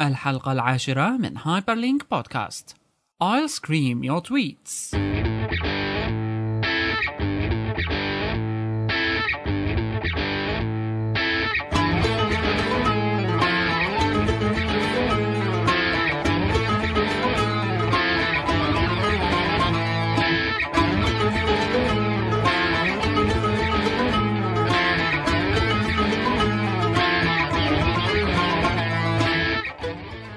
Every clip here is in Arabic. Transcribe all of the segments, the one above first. الحلقة العاشرة من هايبرلينك بودكاست I'll scream your tweets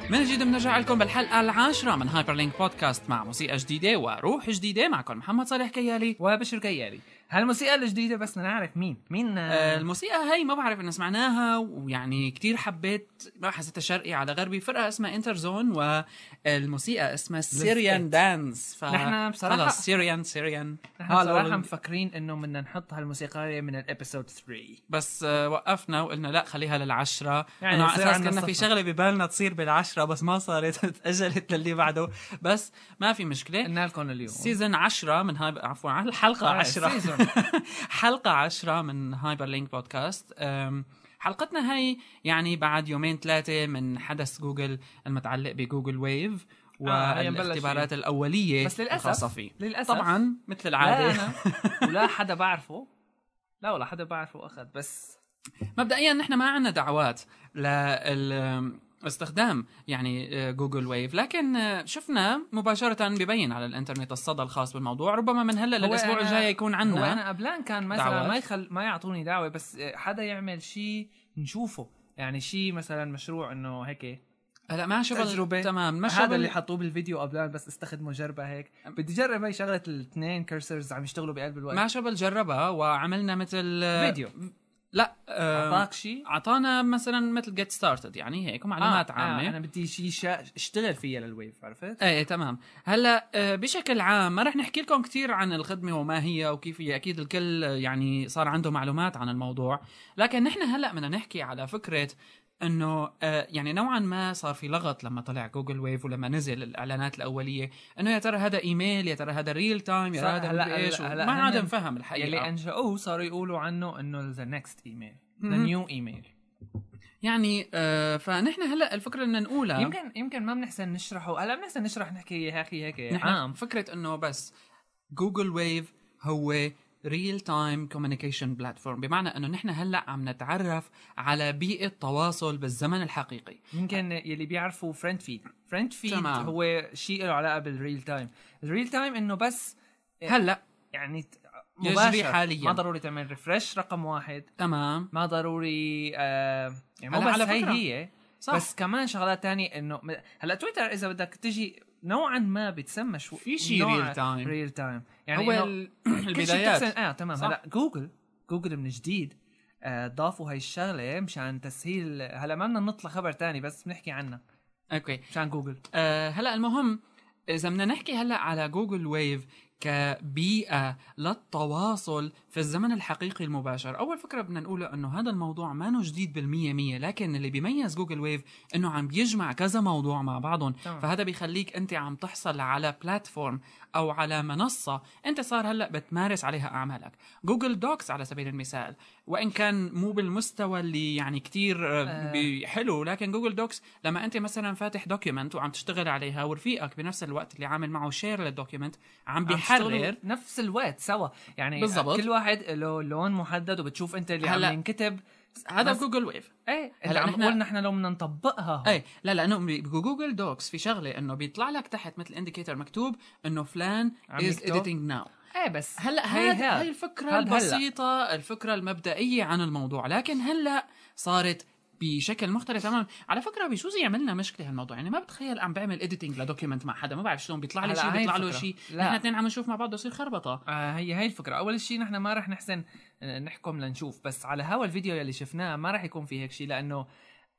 من جديد بنرجع لكم بالحلقة العاشرة من هايبرلينك بودكاست مع موسيقى جديدة وروح جديدة معكم محمد صالح كيالي وبشر كيالي هالموسيقى الجديدة بس بدنا نعرف مين مين آه، الموسيقى هاي ما بعرف ان سمعناها ويعني كتير حبيت ما حسيتها شرقي على غربي فرقه اسمها انتر زون والموسيقى اسمها سيريان دانس ف... نحن بصراحة- خلص سيريان سيريان نحن صراحة مفكرين انه بدنا نحط هالموسيقى من الابيسود 3 بس آه، وقفنا وقلنا لا خليها للعشرة يعني يعني انه على يصير اساس عنا كنا في صفحة. شغلة ببالنا تصير بالعشرة بس ما صارت تأجلت للي بعده بس ما في مشكلة قلنا لكم اليوم سيزون 10 من هاي عفوا على الحلقة آه، 10 سيزون. حلقة 10 من هايبر لينك بودكاست أم، حلقتنا هاي يعني بعد يومين ثلاثة من حدث جوجل المتعلق بجوجل ويف آه، هي مبلش والاختبارات الأولية بس للأسف- الخاصة فيه للأسف طبعا مثل لا العادة انا ولا حدا بعرفه لا ولا حدا بعرفه اخذ بس مبدئيا نحن ما عندنا دعوات لل استخدام يعني آه، جوجل ويف لكن آه، شفنا مباشرة ببين على الانترنت الصدى الخاص بالموضوع ربما من هلا هو للاسبوع أنا- الجاي يكون هو عندنا انا قبلان كان مثلا دعوات. ما يخل ما يعطوني دعوة بس آه، حدا يعمل شيء نشوفه يعني شيء مثلا مشروع انه هيك هلا ما شغل تجربة. تمام ما شغل هذا اللي حطوه بالفيديو قبلان بس استخدمه جربه هيك بدي جرب هاي شغله الاثنين كرسرز عم يشتغلوا بقلب الوقت آه، ما شبل جربها وعملنا مثل فيديو لا آه، اعطاك شيء اعطانا مثلا مثل جيت ستارتد يعني هيك معلومات آه عامه آه انا بدي شيء شا... اشتغل فيها للويف عرفت؟ ايه تمام هلا آه، بشكل عام ما رح نحكي لكم كثير عن الخدمه وما هي وكيف هي اكيد الكل آه، يعني صار عنده معلومات عن الموضوع لكن نحن هلا بدنا نحكي على فكره انه آه، يعني نوعا ما صار في لغط لما طلع جوجل ويف ولما نزل الاعلانات الاوليه انه يا ترى هذا ايميل يا ترى هذا ريل تايم يا صح، ترى هذا هلا- مدري ايش هلا- هلا يعني ما عاد هن- نفهم الحقيقه يلي انشأوه صاروا يقولوا عنه انه ذا نكست ايميل ذا مهم. نيو ايميل يعني آه فنحن هلا الفكره بدنا نقولها يمكن يمكن ما بنحسن نشرحه هلا بنحسن نشرح نحكي يا اخي هيك نحن عام فكره انه آه، بس جوجل ويف هو ريل تايم كوميونيكيشن بلاتفورم بمعنى انه نحن هلا عم نتعرف على بيئه تواصل بالزمن الحقيقي يمكن يلي بيعرفوا فريند فيد فريند فيد تمام. هو شيء له علاقه بالريل تايم الريل تايم انه بس هلا يعني ت- يجري مباشر حالياً. ما ضروري تعمل ريفرش رقم واحد تمام ما ضروري آه يعني مو هلا بس على هي فكرة. هي صح بس كمان شغلات تانية انه م- هلا تويتر اذا بدك تجي نوعا ما بتسمى شو في شي real time. ريل تايم يعني يعني هو هو إنه ال- كل شي البدايات بتحسن- اه تمام صح. هلا جوجل جوجل من جديد آه، ضافوا هاي الشغله مشان تسهيل هلا ما بدنا نطلع خبر تاني بس بنحكي عنها اوكي مشان جوجل آه هلا المهم اذا بدنا نحكي هلا على جوجل ويف كبيئه للتواصل في الزمن الحقيقي المباشر اول فكره بدنا نقوله انه هذا الموضوع ما نو جديد بالمية مية لكن اللي بيميز جوجل ويف انه عم بيجمع كذا موضوع مع بعضهم تمام. فهذا بيخليك انت عم تحصل على بلاتفورم او على منصه انت صار هلا بتمارس عليها اعمالك جوجل دوكس على سبيل المثال وان كان مو بالمستوى اللي يعني كتير آه، آه. بي- حلو لكن جوجل دوكس لما انت مثلا فاتح دوكيومنت وعم تشتغل عليها ورفيقك بنفس الوقت اللي عامل معه شير للدوكيومنت عم عم بيحرر تشتغلوا نفس الوقت سوا يعني بالضبط. كل واحد له لون محدد وبتشوف انت اللي هلا. عم ينكتب هذا بس- جوجل ويف ايه هلا هلا عم نحن- إيه. نقول نحن لو بدنا نطبقها هون. اي لا لانه ب- بجوجل دوكس في شغله انه بيطلع لك تحت مثل انديكيتر مكتوب انه فلان عم از يكتب. اديتنج ناو ايه بس هلا هي هاي هاد. هاي الفكره هاد هلا. البسيطه الفكره المبدئيه عن الموضوع لكن هلا صارت بشكل مختلف تماما على فكره بيجوز يعمل لنا مشكله هالموضوع يعني ما بتخيل عم بعمل اديتنج لدوكيمنت مع حدا ما بعرف شلون بيطلع لي هلا شيء هاي بيطلع له الفكرة. شيء لا. نحن اثنين عم نشوف مع بعض بصير خربطه آه هي هي الفكره اول شيء نحن ما رح نحسن آه، نحكم لنشوف بس على هوا الفيديو يلي شفناه ما رح يكون في هيك شيء لانه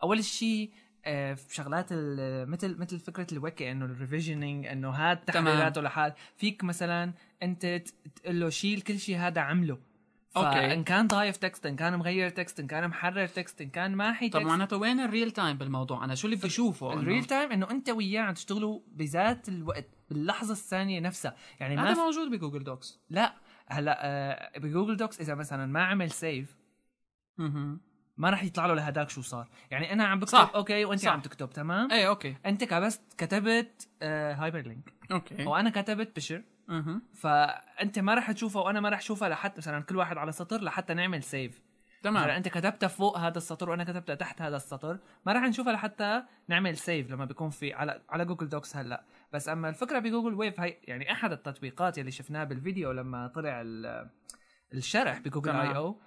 اول شيء آه، في شغلات ال- مثل مثل فكره الوكي انه الريفيجنينج انه هاد تمام. تحريراته لحال فيك مثلا انت ت- تقول له شيل كل شيء هذا عمله أوكي. ان كان ضايف تكست ان كان مغير تكست ان كان محرر تكست ان كان ماحي طب تكست معناته وين الريل تايم بالموضوع انا شو اللي بدي اشوفه إنه- الريل تايم انه انت وياه عم تشتغلوا بذات الوقت باللحظه الثانيه نفسها يعني ما هذا في- موجود بجوجل دوكس لا هلا آه، بجوجل دوكس اذا مثلا ما عمل سيف ما راح يطلع له لهداك شو صار يعني انا عم بكتب صح. اوكي وانت صح. عم تكتب تمام ايه اوكي انت كبست كتبت هايبر لينك اوكي وانا كتبت بشر اها فانت ما راح تشوفها وانا ما راح اشوفها لحتى مثلا كل واحد على سطر لحتى نعمل سيف مثلا تمام انت كتبتها فوق هذا السطر وانا كتبتها تحت هذا السطر ما راح نشوفها لحتى نعمل سيف لما بيكون في على على جوجل دوكس هلا بس اما الفكره بجوجل ويف هي يعني احد التطبيقات اللي شفناه بالفيديو لما طلع ال- الشرح بجوجل تمام. اي او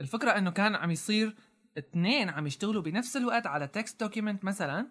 الفكره انه كان عم يصير اثنين عم يشتغلوا بنفس الوقت على تكست دوكيمنت مثلا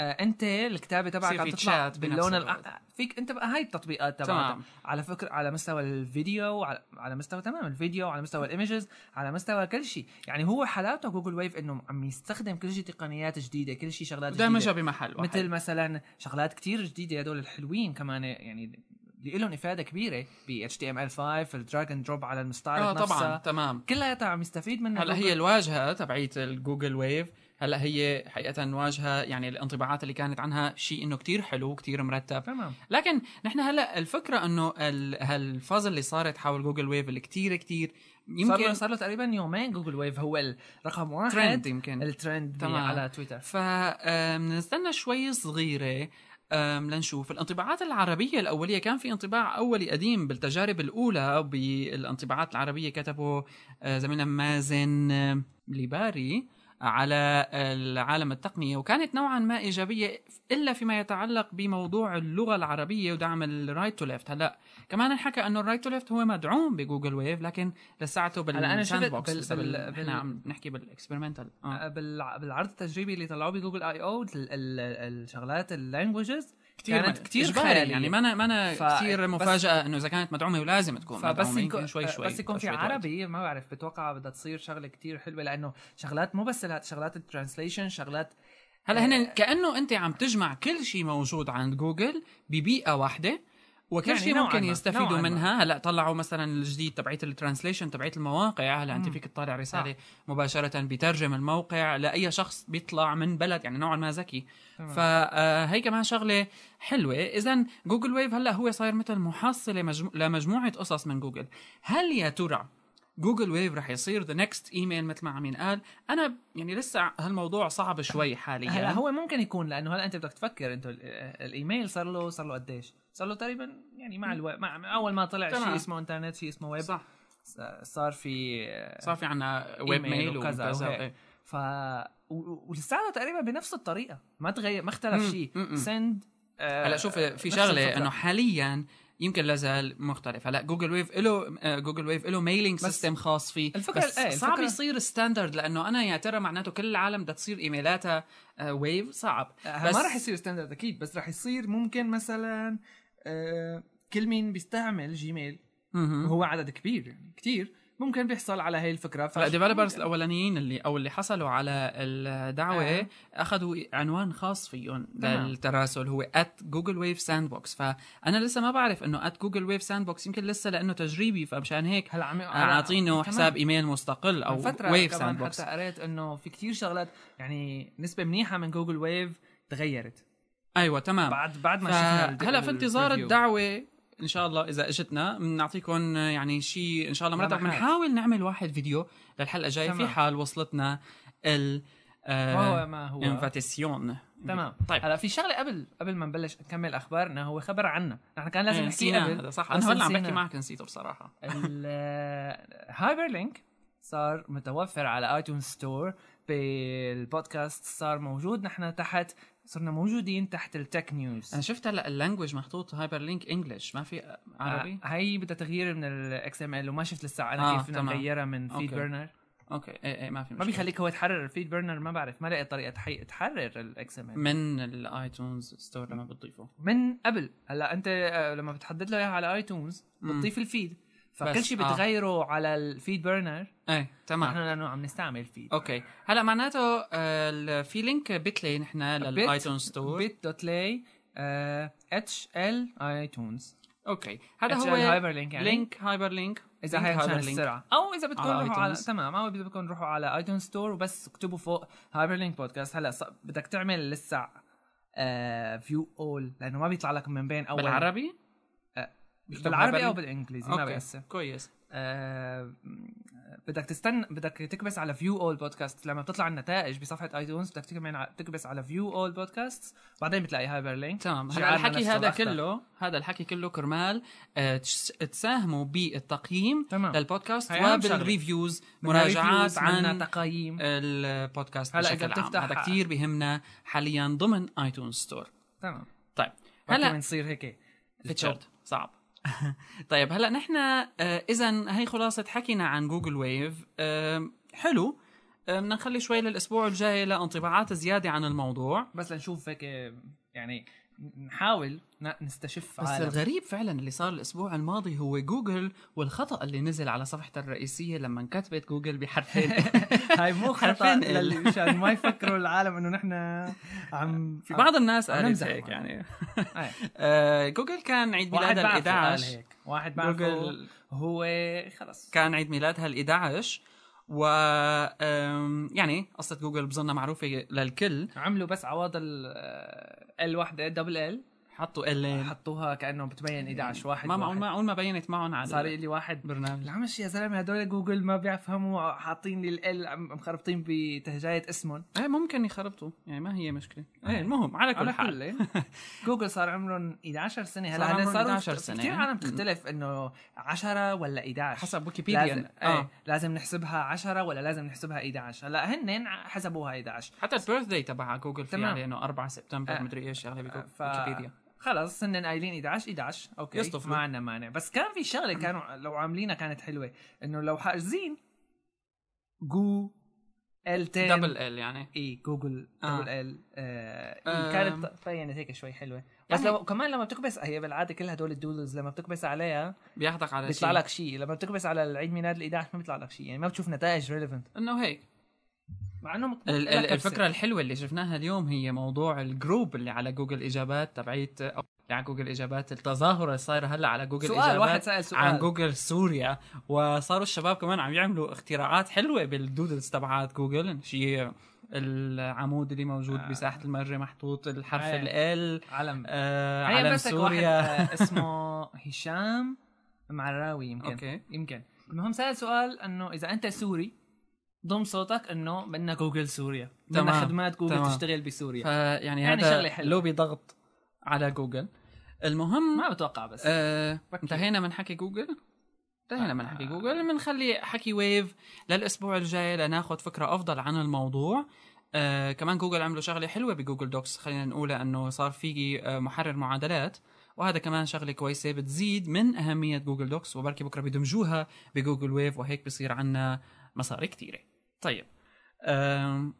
آه، انت الكتابه تبعك يصير عم في تطلع chat بنفس باللون الوقت. الأح- فيك انت بقى هاي التطبيقات تبعتك تمام على فكره على مستوى الفيديو على, على مستوى تمام الفيديو على مستوى الايمجز على مستوى كل شيء يعني هو حلاوته جوجل ويف انه عم يستخدم كل شيء تقنيات جديده كل شيء شغلات دمجها جديده بمحل واحد مثل مثلا شغلات كتير جديده هدول الحلوين كمان يعني اللي لهم افاده كبيره ب اتش تي ام ال 5 الدراج اند دروب على اه المستعرض طبعا نفسها تمام كلها عم يستفيد منها هلا هي الواجهه تبعيت الجوجل ويف هلا هي حقيقه واجهه يعني الانطباعات اللي كانت عنها شيء انه كتير حلو وكتير مرتب تمام لكن نحن هلا الفكره انه ال- هالفازل اللي صارت حول جوجل ويف اللي كتير كتير يمكن صار له, يمكن صار له تقريبا يومين جوجل ويف هو الرقم واحد ترند يمكن الترند تمام. تمام. على تويتر فبنستنى شوي صغيره أم، لنشوف الانطباعات العربية الأولية كان في انطباع أولي قديم بالتجارب الأولى بالانطباعات العربية كتبه آه، زميلنا مازن آه، ليباري على آه، العالم التقنية وكانت نوعا ما إيجابية إلا فيما يتعلق بموضوع اللغة العربية ودعم الرايت تو ليفت هلا كمان انحكى أنه الرايت تو ليفت هو مدعوم بجوجل ويف لكن لساعته بال هلا أنا شفت sandbox، بال- لسه بال- بال- بال- نحن عم نحكي بالاكسبيرمنتال آه. بالع- بالعرض التجريبي اللي طلعوه بجوجل اي او الشغلات اللانجوجز كانت كتير إجباري خيالية. يعني ما انا ما انا ف- كثير بس- مفاجاه انه اذا كانت مدعومه ولازم تكون فبس مدعومه يكون آه، يمكن شوي شوي بس يكون في شوي وقت. عربي ما بعرف بتوقع بدها تصير شغله كتير حلوه لانه شغلات مو بس الهات- شغلات الترانسليشن شغلات هلا آه. هن كانه انت عم تجمع كل شيء موجود عند جوجل ببيئه واحده وكل يعني شيء نوعاً ممكن ما، يستفيدوا نوعاً ما. منها هلا طلعوا مثلا الجديد تبعت الترانسليشن تبعت المواقع هلا انت مم. آه. فيك تطلع رساله مباشره بيترجم الموقع لاي شخص بيطلع من بلد يعني نوعا ما ذكي فهي آه، كمان شغله حلوه اذا جوجل ويف هلا هو صاير مثل محصله مجمو... لمجموعه قصص من جوجل هل يا ترى جوجل ويف رح يصير ذا نكست ايميل مثل ما عم قال انا يعني لسه هالموضوع صعب شوي حاليا هلا هو ممكن يكون لانه هلا انت بدك تفكر انت ال- الايميل صار له صار له قديش؟ صار له تقريبا يعني مع الوقت مع مع اول ما طلع تمام. شيء اسمه انترنت شيء اسمه ويب صح صار في آه، صار في عنا ويب إيميل ميل وكذا وكذا وهيك. إيه. ف و- ولساته تقريبا بنفس الطريقه ما تغير ما اختلف مم، شيء آه، مم، مم. سند هلا شوف في شغله انه حاليا يمكن لازال مختلف هلا جوجل ويف له جوجل ويف له ميلينج بس سيستم خاص فيه الفكرة- بس إيه، صعب الفكرة- يصير ستاندرد لانه انا يا ترى معناته كل العالم بدها تصير ايميلاتها ويف صعب بس بس- آه، ما راح يصير ستاندرد اكيد بس راح يصير ممكن مثلا آه، كل مين بيستعمل جيميل مهم. وهو عدد كبير يعني كثير ممكن بيحصل على هي الفكره ف- فالديفلوبرز الاولانيين اللي او اللي حصلوا على الدعوه آه. نعم. اخذوا عنوان خاص فيهم تمام. للتراسل هو at جوجل ويف ساند بوكس فانا لسه ما بعرف انه at جوجل ويف ساند بوكس يمكن لسه لانه تجريبي فمشان هيك هلا عم اعطينه تمام. حساب ايميل مستقل آه، من او فترة ويف كمان ساند بوكس حتى قريت انه في كثير شغلات يعني نسبه منيحه من جوجل ويف تغيرت ايوه تمام بعد بعد ما ف- شفنا ال- هلا في انتظار الريفيو. الدعوه ان شاء الله اذا اجتنا بنعطيكم يعني شيء ان شاء الله مرتب لمحات. بنحاول نعمل واحد فيديو للحلقه الجايه في تمام. حال وصلتنا ال وهو ما هو آه، انفاتيسيون تمام طيب. طيب هلا في شغله قبل قبل ما نبلش نكمل اخبارنا هو خبر عنا نحن كان لازم نحكي قبل هذا إيه، صح بس انا هلا عم بحكي نسينا. معك نسيته بصراحه الهايبر لينك صار متوفر على ايتون ستور بالبودكاست صار موجود نحن تحت صرنا موجودين تحت التك انا نيوز شفت هلا اللانجوج محطوط هايبر لينك انجلش ما في عربي آه، هي بدها تغيير من الاكس ام ال وما شفت لسه انا آه، كيف بدنا تمام. نغيرها من أوكي. فيد برنر اوكي ايه ايه ما في آه. ما مشكله بيخليك هو تحرر الفيد برنر ما بعرف ما لقيت طريقه تحي... تحرر الاكس ام ال من الايتونز ستور لما بتضيفه من قبل هلا انت آه، لما بتحدد له اياها على ايتونز مم. بتضيف الفيد بس، فكل شيء آه. بتغيره على الفيد برنر ايه تمام نحن لانه عم نستعمل فيد اوكي هلا معناته آه، ال- في لينك بيتلي نحن آه، للايتون ستور بيت دوت لاي آه، اتش ال ايتونز اوكي هذا هذا هو هو هايبر لينك يعني لينك لينك هايبر لينك اذا لينك هي هايبر عشان لينك. السرعه او اذا بدكم على روحوا على iTunes. تمام او اذا بدكم روحوا على ايتون ستور وبس اكتبوا فوق هايبر لينك بودكاست هلا ص- بدك تعمل لسه آه، فيو اول لانه ما بيطلع لك من بين اول بالعربي بالعربي او بالانجليزي ما أوكي. بيأثر كويس آه، بدك تستنى بدك تكبس على فيو اول بودكاست لما بتطلع النتائج بصفحه ايتونز بدك تكمل ع- تكبس على فيو اول بودكاست بعدين بتلاقي هايبر لينك تمام هلا شعارنا الحكي نفسه هذا الأخضر. كله هذا الحكي كله كرمال آه، تش- تساهموا بالتقييم تمام. للبودكاست هي أهم شغلة. وبالريفيوز مراجعات بدنا reviews، بدنا عن تقييم البودكاست هلا هلا إذا بشكل عام بتفتح- هذا كثير بيهمنا حاليا ضمن ايتونز ستور تمام طيب هلا هلا نصير هيك تيشيرت صعب طيب هلا نحن آه، اذا هي خلاصه حكينا عن جوجل ويف آه، حلو آه، بدنا نخلي شوي للاسبوع الجاي لانطباعات زياده عن الموضوع بس لنشوف هيك يعني نحاول ن- نستشف بس عالم الغريب فعلا اللي صار الاسبوع الماضي هو جوجل والخطا اللي نزل على صفحتها الرئيسيه لما انكتبت جوجل بحرفين هاي مو خطا حرفياً ال- لل- مشان ما يفكروا العالم انه نحن عم في بعض الناس عم قالت نمزح هيك معه. يعني آه. آه، جوجل كان عيد واحد ميلادها ال بعرفه قال 11 هيك واحد بعرفه جوجل هو خلص كان عيد ميلادها ال 11 و آم، يعني قصه جوجل بظنها معروفه للكل عملوا بس آه، عواض ال وحده دبل ال حطوا ال حطوها كانه بتبين 11 واحد ما واحد. معقول معقول ما بينت معهم على صار لي واحد البرنامج العمش يا زلمه هدول جوجل ما بيفهموا حاطين لي ال مخربطين بتهجايه اسمهم ايه ممكن يخربطوا يعني ما هي مشكله ايه المهم على كل آه. على حال كل جوجل صار عمرهم 11 سنه صار هلا هلا عمرهم صاروا 11 11 سنة. يعني. سنه كثير عالم بتختلف انه 10 ولا 11 حسب إيه. لازم ويكيبيديا آه. لازم نحسبها 10 ولا لازم نحسبها 11 هلا هن ع- حسبوها 11 حتى البيرث داي تبع جوجل في تمام. عليه انه 4 سبتمبر آه. مدري ايش شغله بيكون ف- ويكيبيديا خلص هن قايلين 11 11 اوكي يصطفلوا. ما عندنا مانع بس كان في شغله كانوا لو عاملينها كانت حلوه انه لو حاجزين جو ال 10 دبل ال يعني اي E، جوجل آه. دبل ال آه، آم. إي، كانت طينت هيك شوي حلوه بس يعني- لو كمان لما بتكبس هي بالعاده كل هدول الدودلز لما بتكبس عليها بياخذك على بيطلع شيء لك شيء لما بتكبس على العيد ميلاد ال 11 ما بيطلع لك شيء يعني ما بتشوف نتائج ريليفنت انه هيك مع انه ال- ال- الفكره الحلوه اللي شفناها اليوم هي موضوع الجروب اللي على جوجل اجابات تبعيت او اللي على جوجل اجابات التظاهره اللي صايره هلا على جوجل سؤال اجابات واحد سال سؤال عن جوجل سوريا وصاروا الشباب كمان عم يعملوا اختراعات حلوه بالدودلز تبعات جوجل شيء العمود اللي موجود آه. بساحه المرج محطوط الحرف آه. ال عالم آه هي علم مسك واحد سوريا آه، اسمه هشام معراوي يمكن أوكي. يمكن المهم سأل سؤال انه اذا انت سوري ضم صوتك انه بدنا جوجل سوريا بدنا تمام. خدمات جوجل تمام. تشتغل بسوريا فيعني يعني شغلة هذا حلوة. لوبي ضغط على جوجل المهم ما بتوقع بس آه بكي. انتهينا من حكي جوجل انتهينا من آه. حكي جوجل بنخلي حكي ويف للاسبوع الجاي لناخذ فكره افضل عن الموضوع آه كمان جوجل عملوا شغله حلوه بجوجل دوكس خلينا نقولها انه صار في آه، محرر معادلات وهذا كمان شغله كويسه بتزيد من اهميه جوجل دوكس وبركي بكره بيدمجوها بجوجل ويف وهيك بصير عنا مصاري كثيره طيب آم،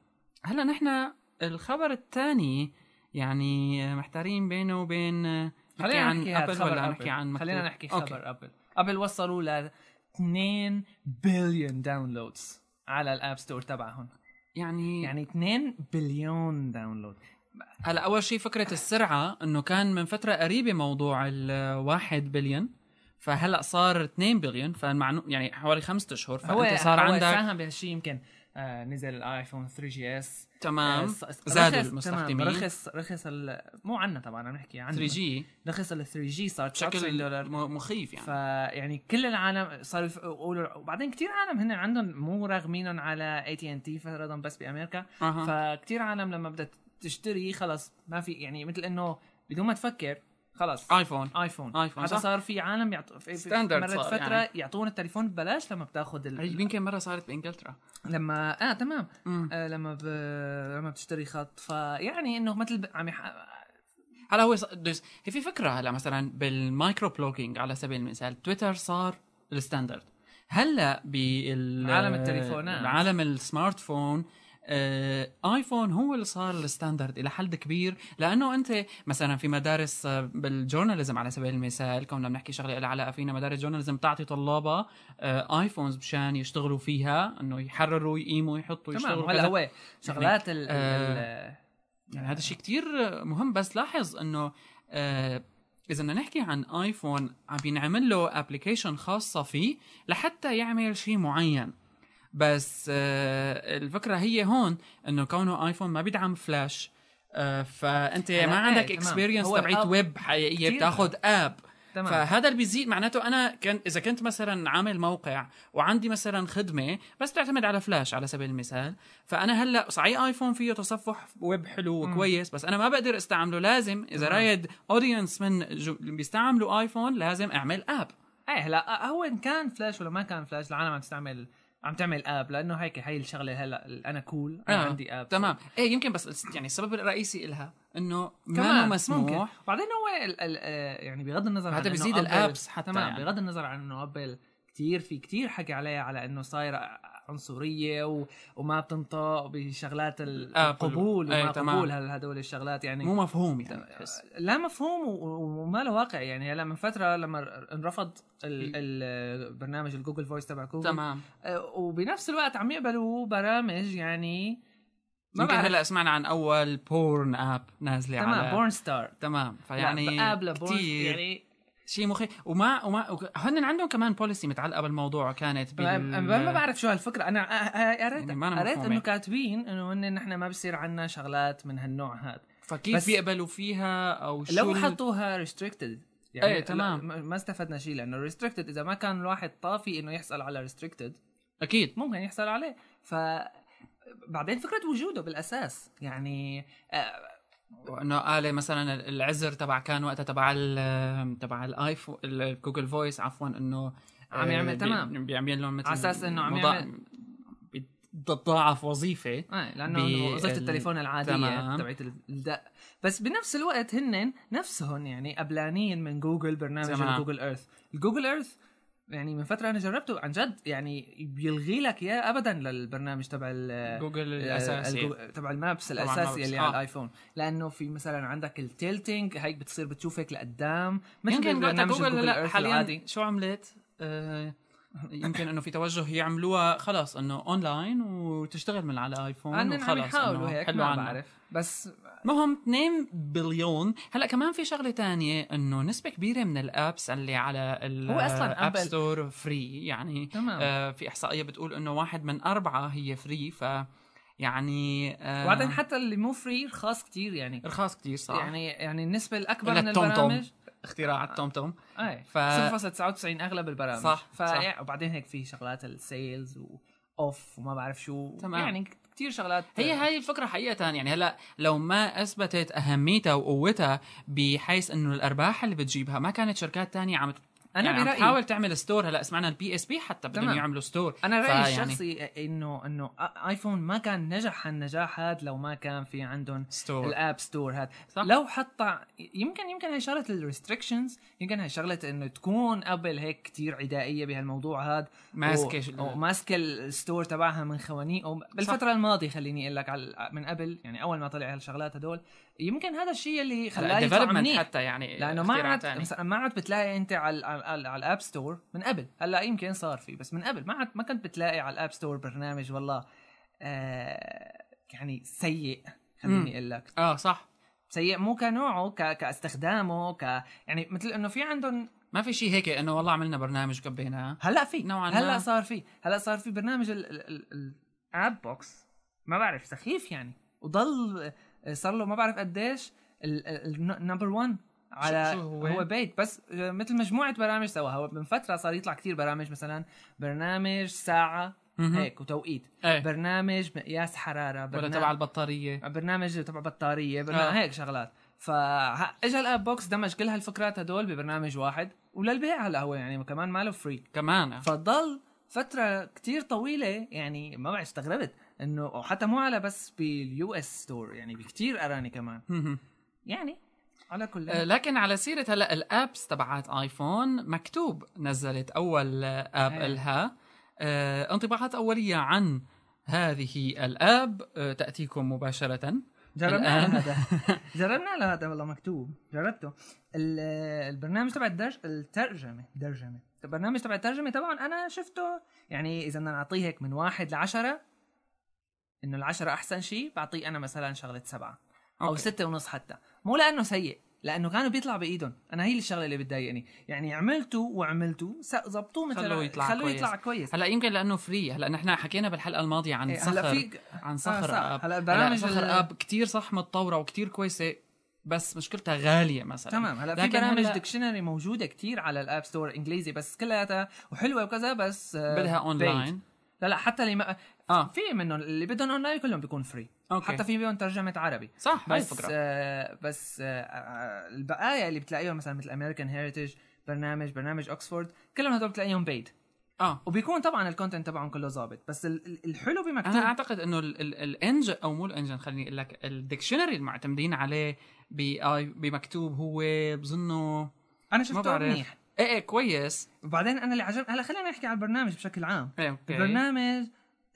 هلا نحن الخبر الثاني يعني آه، محتارين بينه وبين آه، نحكي خلينا عن نحكي هاد ابل خبر ولا نحكي عن خلينا مكتوب؟ نحكي أوكي. خبر ابل ابل وصلوا ل 2 بليون داونلودز على الاب ستور تبعهم يعني يعني يعني 2 بليون داونلود هلا اول شيء فكره السرعه انه كان من فتره قريبه موضوع الواحد بليون فهلا صار 2 بليون فمعنو يعني حوالي خمسة اشهر هو فانت صار عندك ساهم بهالشيء يمكن آه نزل الايفون 3 جي اس تمام زاد المستخدمين. رخص رخص ال- مو عنا طبعا عم نحكي عن 3 جي رخص ال 3 جي صار 99 بشكل دولار م- مخيف يعني فيعني كل العالم صاروا يف- يقولوا وبعدين كثير عالم هن عندهم مو راغمينهم على اي تي ان تي فرضا بس بامريكا أها. فكتير عالم لما بدها تشتري خلص ما في يعني مثل انه بدون ما تفكر خلص ايفون ايفون آيفون، هذا صح. صار في عالم يعطوا في في- Standard مرت صار فتره يعني. أيوة. يعطون التليفون ببلاش لما بتاخذ ال... هي يمكن مره صارت بانجلترا لما اه تمام مم. آه لما ب... لما بتشتري خط فيعني انه مثل ب... عم يح... هلا هو ص- دوس- هي في فكره هلا مثلا بالمايكرو بلوجينج على سبيل المثال تويتر صار الستاندرد هلا بال عالم التليفونات. عالم السمارت فون آه، ايفون هو اللي صار الستاندرد الى حد كبير لانه انت مثلا في مدارس آه، بالجورناليزم على سبيل المثال كنا بنحكي شغله لها علاقه فينا مدارس جورناليزم بتعطي طلابها آه، ايفونز مشان يشتغلوا فيها انه يحرروا يقيموا يحطوا تمام يشتغلوا هلا كذا. هو شغلات ال... آه، ال... يعني هذا الشيء كتير مهم بس لاحظ انه آه اذا بدنا نحكي عن ايفون عم بينعمل له ابلكيشن خاصه فيه لحتى يعمل شيء معين بس آه الفكره هي هون انه كونه ايفون ما بيدعم فلاش آه فانت هلا ما إيه، عندك تمام. اكسبيرينس هو تبعت الأب ويب حقيقيه كتير بتاخذ اب تمام. فهذا اللي بيزيد معناته انا كان اذا كنت مثلا عامل موقع وعندي مثلا خدمه بس تعتمد على فلاش على سبيل المثال فانا هلا صحيح ايفون فيه تصفح ويب حلو مم. وكويس بس انا ما بقدر استعمله لازم اذا تمام. رايد اودينس من جو- اللي بيستعملوا ايفون لازم اعمل اب ايه هلا هو ان كان فلاش ولا ما كان فلاش العالم عم تستعمل عم تعمل اب لانه هيك هي الشغله هلا ال- انا كول انا آه، عندي اب تمام ايه يمكن بس الس- يعني السبب الرئيسي لها انه ما كمان هو مسموح ممكن. بعدين هو ال ال آه، يعني بغض النظر هذا عن إنه بيزيد أبل- الابس حتى تمام يعني. بغض النظر عن انه ابل كتير في كتير حكي عليها على انه صايره عنصريه و... وما بتنطق بشغلات ال- آه، القبول أي، وما تمام. قبول هل- هدول الشغلات يعني مو مفهوم يعني بحس. لا مفهوم و- و- وما له واقع يعني هلا من فتره لما ر- انرفض ال- ال- برنامج الجوجل فويس تبع جوجل تمام آه، وبنفس الوقت عم يقبلوا برامج يعني ما ما يمكن بعرف. هلا سمعنا عن اول بورن اب نازله يعني على تمام يعني بورن ستار تمام فيعني لا، قابله بورن كتير يعني شيء مخي وما وما وك- هن عندهم كمان بوليسي متعلقه بالموضوع كانت بال ما ما بعرف شو هالفكره انا أ- أ- قريت يعني ما أنا قريت مفهومة. انه كاتبين انه هن نحن ما بصير عنا شغلات من هالنوع هذا فكيف بس- بيقبلوا فيها او شو لو ال- حطوها ريستريكتد إيه، تمام. ما استفدنا شيء لانه ريستريكتد اذا ما كان الواحد طافي انه يحصل على ريستريكتد اكيد ممكن يحصل عليه ف بعدين فكره وجوده بالاساس يعني آه، انه آلة مثلا العذر تبع كان وقتها تبع ال تبع الايفون الجوجل فويس عفوا انه عم يعمل- آه، بي- تمام. بيعمل لهم مثل على أساس إنه عم مضاع- يعمل- بتتضاعف وظيفه آه، بال- لانه وظيفه التليفون العاديه تمام. تبعت الدق بس بنفس الوقت هن نفسهم يعني قبلانين من جوجل برنامج تمام. جوجل ايرث الجوجل ايرث يعني من فتره انا جربته عن جد يعني بيلغي لك اياه ابدا للبرنامج تبع ال جوجل آه، الاساسي الجو- تبع المابس تبع الاساسي المابس، اللي آه. على الايفون لانه في مثلا عندك التيلتينج هيك بتصير بتشوف هيك لقدام يمكن وقتها برنامج جوجل الجوجل لا Earth حاليا العادي. شو عملت؟ آه، يمكن انه في توجه يعملوها خلاص انه اونلاين وتشتغل من على ايفون هن عم وخلاص يحاولوا إنه هيك حلوا ما عنا. بعرف بس المهم 2 بليون هلا كمان في شغله تانية انه نسبه كبيره من الابس اللي على ال هو أصلاً اب أبل- ستور فري يعني تمام آه في احصائيه بتقول انه واحد من اربعه هي فري ف يعني آه وبعدين حتى اللي مو فري رخاص كتير يعني رخاص كتير صح يعني يعني النسبه الاكبر إلا من التوم توم. البرامج اختراع التومتوم اي ف- ف 0.99 اغلب البرامج صح، ف... يعني، صح. وبعدين هيك في شغلات السيلز واوف وما بعرف شو تمام. تمام. يعني كتير شغلات هي هاي الفكرة حقيقة يعني هلا لو ما اثبتت اهميتها وقوتها بحيث انه الارباح اللي بتجيبها ما كانت شركات تانية عم ت- انا يعني يعني عم برايي تحاول تعمل ستور هلا سمعنا البي اس بي حتى بدهم تمام. يعملوا ستور انا رايي فيعني- الشخصي انه انه ايفون ما كان نجح هالنجاح هذا لو ما كان في عندهم ستور الاب ستور هذا صح. لو حتى يمكن يمكن هي شغله الريستريكشنز يمكن هي شغله انه تكون ابل هيك كتير عدائيه بهالموضوع هذا ماسكة و- شل- وماسكه الستور تبعها من خوانيقه بالفتره الماضيه خليني اقول لك على من قبل يعني اول ما طلع هالشغلات هدول يمكن هذا الشيء اللي خلاه يطلع الديفلوبمنت منيح حتى يعني لانه ما اختراع عاد تاني. مثلا ما عاد بتلاقي انت على على, على الاب ستور من قبل هلا يمكن صار في بس من قبل ما عاد ما كنت بتلاقي على الاب ستور برنامج والله آه يعني سيء مم. خليني اقول لك اه صح سيء مو كنوعه ك... كاستخدامه ك يعني مثل انه في عندهم ما في شيء هيك انه والله عملنا برنامج كبيناه هلا في نوعاً ما. هلا صار في هلا صار في برنامج ال... ال... ال... الاب بوكس ما بعرف سخيف يعني وضل صار له ما بعرف قديش النمبر 1 على شو هو؟ هو, هو بيت بس مثل مجموعه برامج سوا هو من فتره صار يطلع كتير برامج مثلا برنامج ساعه مهم. هيك وتوقيت ايه برنامج مقياس حراره ولا برنامج تبع البطارية برنامج تبع بطاريه برنامج آه. هيك شغلات فاجى الاب بوكس دمج كل هالفكرات هدول ببرنامج واحد وللبيع هلا هو يعني كمان ماله فري كمان فضل فتره كتير طويله يعني ما بعرف استغربت انه وحتى مو على بس باليو اس ستور يعني بكتير اراني كمان مهم. يعني على كل آه، لكن على سيرة هلا الابس تبعات ايفون مكتوب نزلت اول آه، اب إيه. لها آه، انطباعات اولية عن هذه الاب آه، تأتيكم مباشرة جربنا الآن. هذا جربنا هذا والله مكتوب جربته ال- البرنامج تبع الدرج الترجمه ترجمه البرنامج تبع الترجمه طبعا انا شفته يعني اذا بدنا نعطيه هيك من واحد لعشرة انه العشرة احسن شيء بعطيه انا مثلا شغله سبعة او أوكي. ستة ونص حتى مو لانه سيء لانه كانوا بيطلع بايدهم انا هي الشغله اللي بتضايقني يعني عملته وعملته ظبطوه مثلا خلوه يطلع خلوه كويس. يطلع كويس هلا يمكن لانه فري هلا نحن حكينا بالحلقة الماضية عن إيه، صخر هلا في عن صخر صح. اب هلا البرامج صخر ال- اب كتير صح متطورة وكتير كويسة بس مشكلتها غاليه مثلا تمام هلا في لكن برامج هلا- ديكشنري موجوده كتير على الاب ستور انجليزي بس كلياتها وحلوه وكذا بس آه، بدها اونلاين لا لا حتى اللي ما اه في منهم اللي بدهم اونلاين كلهم بيكون فري اوكي حتى في بيهم ترجمه عربي صح هاي بس الفكره آه بس آه آه، البقايا اللي بتلاقيهم مثلا مثل امريكان هيريتج برنامج برنامج اوكسفورد كلهم هدول بتلاقيهم بيد اه وبيكون طبعا الكونتنت تبعهم كله ظابط بس ال- ال- الحلو بما انا كتير اعتقد انه ال- ال- الانجن او مو الانجن خليني اقول لك الديكشنري المعتمدين عليه بآي بمكتوب هو بظنه انا ما شفته بعرف منيح ايه ايه كويس وبعدين انا اللي عجبني هلا خلينا نحكي عن البرنامج بشكل عام ايه اوكي البرنامج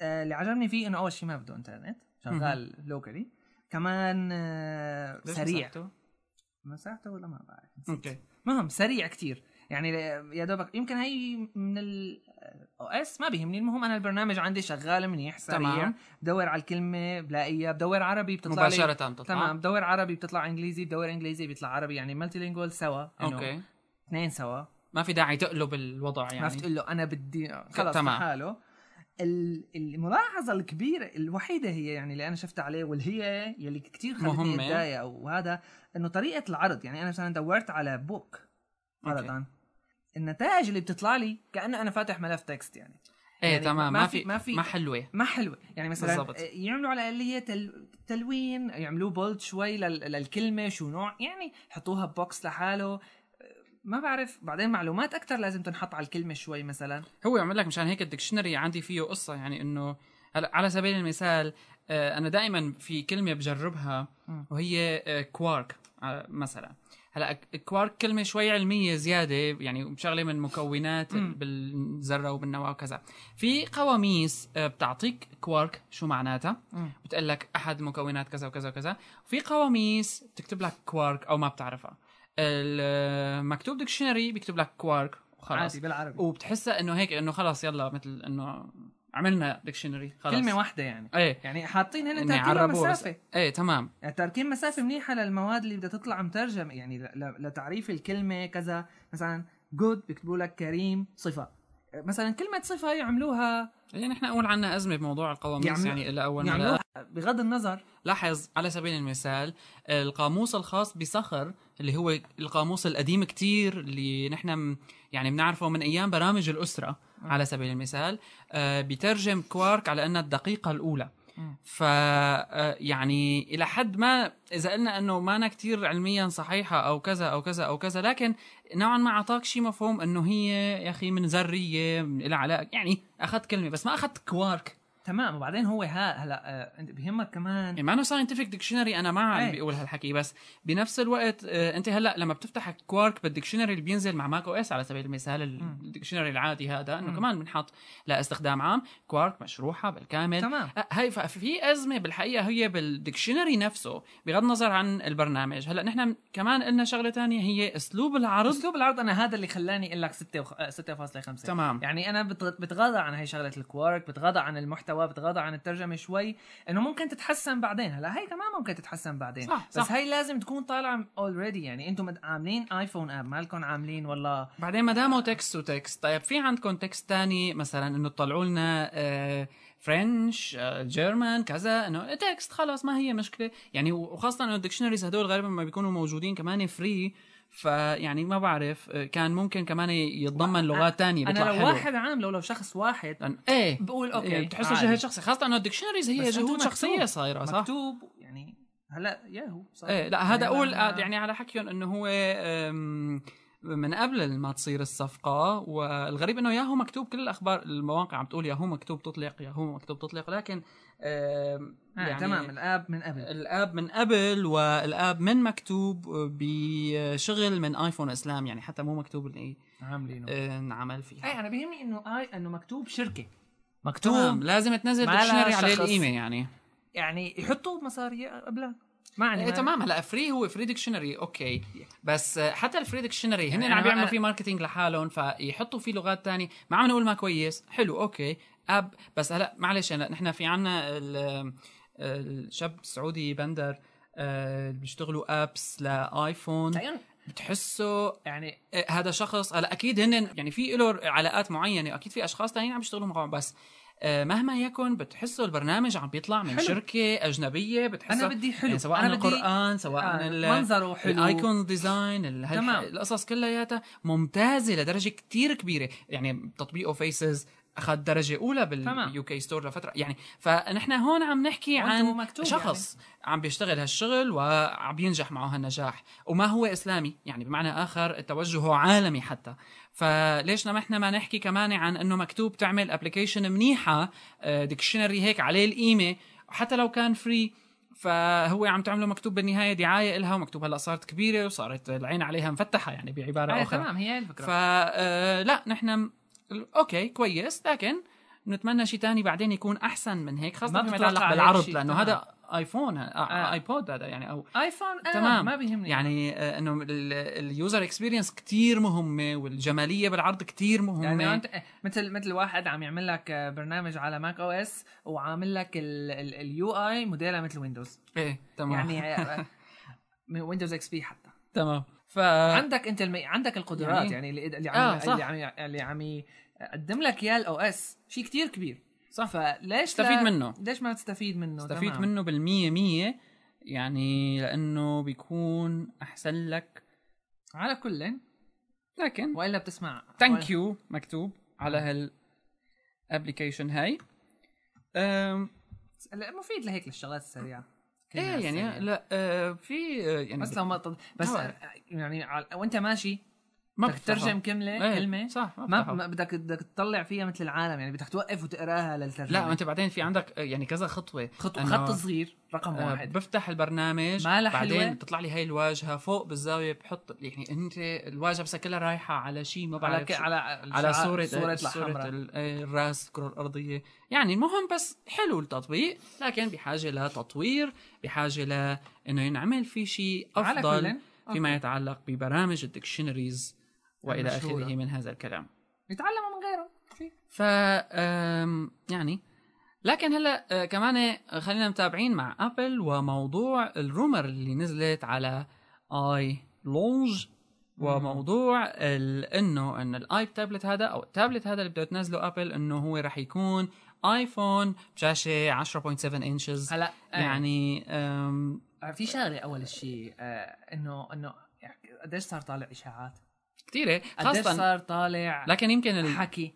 آه، اللي عجبني فيه انه اول شيء ما بده انترنت شغال لوكالي كمان آه، ليش سريع مسحته؟ مساحته ولا ما بعرف نسيت. اوكي مهم سريع كتير يعني ل- يا دوبك يمكن هي من ال او اس ما بيهمني المهم انا البرنامج عندي شغال منيح سريع تمام. تمام. بدور على الكلمه بلاقيها بدور عربي بتطلع لي مباشره تطلع تمام بدور عربي بتطلع انجليزي بدور انجليزي بيطلع عربي يعني مالتي لينجول سوا إنه اوكي اثنين سوا ما في داعي تقلب الوضع يعني عرفت يعني تقول له انا بدي خلص تمام. تمام. حاله الملاحظة الكبيرة الوحيدة هي يعني اللي أنا شفتها عليه واللي هي يلي كتير مهمة. خلتني أتضايق أو هذا إنه طريقة العرض يعني أنا مثلا دورت على بوك فرضا النتائج اللي بتطلع لي كأنه أنا فاتح ملف تكست يعني ايه يعني تمام ما في ما في في- ما حلوه ما حلوة يعني مثلا بالضبط. بالزبط. يعملوا على الآلية تل... تلوين يعملوه بولد شوي لل... للكلمة شو نوع يعني حطوها ببوكس لحاله ما بعرف بعدين معلومات أكتر لازم تنحط على الكلمة شوي مثلا هو عمل لك مشان هيك الدكشنري عندي فيه قصه يعني انه هلا على سبيل المثال آه، انا دائما في كلمه بجربها مم. وهي آه، كوارك آه، مثلا هلا كوارك كلمه شوي علميه زياده يعني شغله من مكونات مم. بالذره وبالنواه وكذا في قواميس آه، بتعطيك كوارك شو معناتها بتقول لك احد مكونات كذا وكذا وكذا في قواميس بتكتب لك كوارك او ما بتعرفها المكتوب ديكشنري بيكتب لك كوارك وخلاص عادي بالعربي وبتحسها انه هيك انه خلاص يلا مثل انه عملنا ديكشنري خلاص كلمة واحدة يعني ايه يعني حاطين هنا إني تركيب عربوا بس- مسافة ايه تمام يعني تركيب مسافة منيحة للمواد اللي بدها تطلع مترجمة يعني ل... ل... لتعريف الكلمة كذا مثلا جود بيكتبوا لك كريم صفة مثلا كلمة صفة يعملوها يعني نحن اول عنا ازمه بموضوع القواميس يعملوا- يعني الى اول ما يعملوها لا- بغض النظر لاحظ على سبيل المثال القاموس الخاص بصخر اللي هو القاموس القديم كتير اللي نحن م- يعني بنعرفه من ايام برامج الاسره على سبيل المثال آه، بترجم كوارك على انها الدقيقه الاولى مم. ف آه، يعني الى حد ما اذا قلنا انه ما أنا كتير علميا صحيحه او كذا او كذا او كذا لكن نوعا ما اعطاك شيء مفهوم انه هي يا اخي من ذريه من- لها علاقه يعني اخذت كلمه بس ما اخذت كوارك تمام وبعدين هو ها هلا آه، انت بيهمك كمان يعني ما انه ساينتفك ديكشنري انا ما عم إيه. بيقول هالحكي بس بنفس الوقت آه، انت هلا لما بتفتح كوارك بالديكشنري اللي بينزل مع ماك او اس على سبيل المثال ال- مم. الديكشنري العادي هذا انه مم. كمان بنحط لاستخدام عام كوارك مشروحه بالكامل تمام آه، هاي ف- في ازمه بالحقيقه هي بالديكشنري نفسه بغض النظر عن البرنامج هلا نحن كمان قلنا شغله تانية هي اسلوب العرض اسلوب العرض انا هذا اللي خلاني اقول لك 6 وخ... آه، 6.5 تمام يعني انا بتغ- بتغاضى عن هي شغله الكوارك بتغاضى عن المحتوى بتغاضى عن الترجمه شوي انه ممكن تتحسن بعدين هلا هي كمان ممكن تتحسن بعدين صح، بس صح. هي لازم تكون طالعه اوريدي يعني انتم مد- عاملين ايفون اب مالكم عاملين والله بعدين ما داموا تكست وتكست طيب في عندكم تكست تاني مثلا انه تطلعوا لنا آه، فرنش آه، جيرمان كذا انه تكست خلاص ما هي مشكله يعني وخاصه انه الدكشنريز هدول غالبا ما بيكونوا موجودين كمان فري فيعني ما بعرف آه، كان ممكن كمان يتضمن لغات تانية انا بيطلع لو حلو واحد عامله لو شخص واحد يعني لأن- ايه بقول اوكي إيه، بتحسه عادي. جهد شخصي خاصه انه الدكشنريز هي بس أنتو جهود مكتوب. شخصيه صايره صح؟ مكتوب يعني هلا ياهو صح ايه لا هذا يعني اقول أنا- يعني على حكيهم انه هو أم، من قبل ما تصير الصفقة والغريب انه ياهو مكتوب كل الاخبار المواقع عم تقول ياهو مكتوب تطلق ياهو مكتوب تطلق لكن أم، آه يعني تمام الاب من قبل الاب من قبل والاب من مكتوب بشغل من ايفون اسلام يعني حتى مو مكتوب اللي آه، عاملينه إيه. انعمل فيه اي انا بيهمني انه اي انه مكتوب شركه تمام مكتوب لازم تنزل ما لها ديكشنري عليه شخص. القيمه يعني يعني يحطوا مصاري قبلها يعني ما عندي ايه مانع. تمام هلا فري هو فري ديكشنري اوكي بس آه، حتى الفري ديكشنري هن يعني عم أنا- بيعملوا أنا- فيه ماركتينج لحالهم فيحطوا فيه لغات تانية ما عم نقول ما كويس حلو اوكي اب بس هلا معلش هلا نحن في عنا ال- الشاب السعودي بندر آه، بيشتغلوا ابس لايفون تلاقيهم بتحسه يعني آه، هذا شخص هلا اكيد هن يعني في له علاقات معينه اكيد في اشخاص تانيين عم يشتغلوا معهم بس آه، مهما يكن بتحسوا البرنامج عم بيطلع من حلو. حلو. شركه اجنبيه انا بتحسه بدي حلو يعني سواء أنا انا بدي القران سواء آه، ال- منظره حلو الايكون ديزاين تمام. القصص كلياتها ممتازه لدرجه كتير كبيره يعني تطبيقه فيسز اخذ درجه اولى تمام. باليو كي ستور لفتره يعني فنحن هون عم نحكي وأنت مو عن طيب، مكتوب يعني. شخص عم بيشتغل هالشغل وعم ينجح معه هالنجاح وما هو اسلامي يعني بمعنى اخر توجهه عالمي حتى فليش ما احنا ما نحكي كمان عن انه مكتوب تعمل ابلكيشن منيحه ديكشنري هيك عليه القيمه حتى لو كان فري فهو عم تعمله مكتوب بالنهايه دعايه لها ومكتوب هلا صارت كبيره وصارت العين عليها مفتحه يعني بعباره آه، اخرى تمام هي هي الفكره فلا آه، نحن م- اوكي كويس لكن نتمنى شيء تاني بعدين يكون احسن من هيك ما خاصه فيما بتتوقع يتعلق هيك بالعرض شيء، لانه تمام. هذا ايفون آ- آه. نعم. ايبود هذا يعني او ايفون انا تمام تمام. آه، ما بيهمني يعني آه، انه اليوزر اكسبيرينس كتير مهمه والجماليه بالعرض كتير مهمه يعني انت مثل مثل واحد عم يعمل لك آه، برنامج على ماك او اس وعامل لك اليو اي موديلها مثل ويندوز ايه تمام يعني يعني آه، من ويندوز اكس بي حتى تمام ف عندك انت الم... عندك القدرات يعني- يعني, اللي اللي عم آه، اللي صح. عم اللي عم يقدم لك اياه الاو اس شيء كتير كبير صح. فليش استفيد لا... منه ليش ما تستفيد منه استفيد تمام. منه بالمية مية يعني لانه بيكون احسن لك على كل لكن والا بتسمع ثانك يو مكتوب على هالابلكيشن هاي أم، مفيد لهيك للشغلات السريعه كلها ايه السريعة. يعني لا آه، في آه، يعني بس لو ما تض... بس طبعاً. يعني على... وانت ماشي ما بدك تترجم كلمه إيه، كلمه صح ما, ما بتفتحه. ما بدك بدك تطلع فيها مثل العالم يعني بدك توقف وتقراها للترجمه لا ما انت بعدين في عندك آه، يعني كذا خطوه خط إنه- خط صغير رقم آه، واحد بفتح البرنامج ما لها حلوة. بعدين بتطلع لي هاي الواجهه فوق بالزاويه بحط يعني انت الواجهه بس كلها رايحه على شيء ما على بعرف ك... شو. على على شعار- صورة صوره صورة الحمراء ال- آه، الراس الكرة الأرضية يعني المهم بس حلو التطبيق لكن بحاجة لتطوير بحاجة لأنه ينعمل في شيء على أفضل كل فيما يتعلق ببرامج الدكشنريز وإلى المشهورة. آخره من هذا الكلام يتعلموا من غيره في- ف آم، يعني لكن هلا آه، كمان خلينا متابعين مع ابل وموضوع الرومر اللي نزلت على اي لونج وموضوع ال- انه ان الاي تابلت هذا او التابلت هذا اللي بده تنزله ابل انه هو راح يكون ايفون بشاشه 10.7 انشز هلا آه، يعني أم في شغله اول شيء آه، انه انه يعني قديش صار طالع اشاعات كثيره قديش خاصه صار طالع لكن يمكن ال- حكي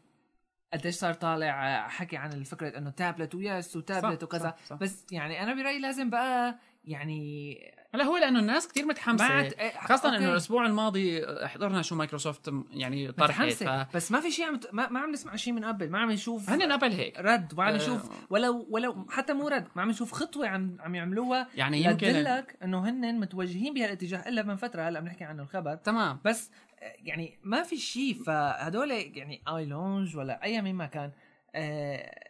قديش صار طالع آه، حكي عن الفكرة انه تابلت ويس وتابلت صح، وكذا صح، صح. بس يعني انا برايي لازم بقى يعني هلا هو لانه الناس كثير متحمسه آه، خاصة أوكي. انه الاسبوع الماضي حضرنا شو مايكروسوفت يعني طرحت ف متحمسة بس ما في شيء عم ت- ما, ما عم نسمع شيء من قبل ما عم نشوف هن ابل هيك رد وما عم آه. نشوف ولو ولو حتى مو رد ما عم نشوف خطوة عم عم يعملوها يعني يمكن لك انه هن متوجهين بهالاتجاه الا من فترة هلا بنحكي عنه الخبر تمام بس آه، يعني ما في شيء فهدول يعني اي لونج ولا اي مين ما كان آه،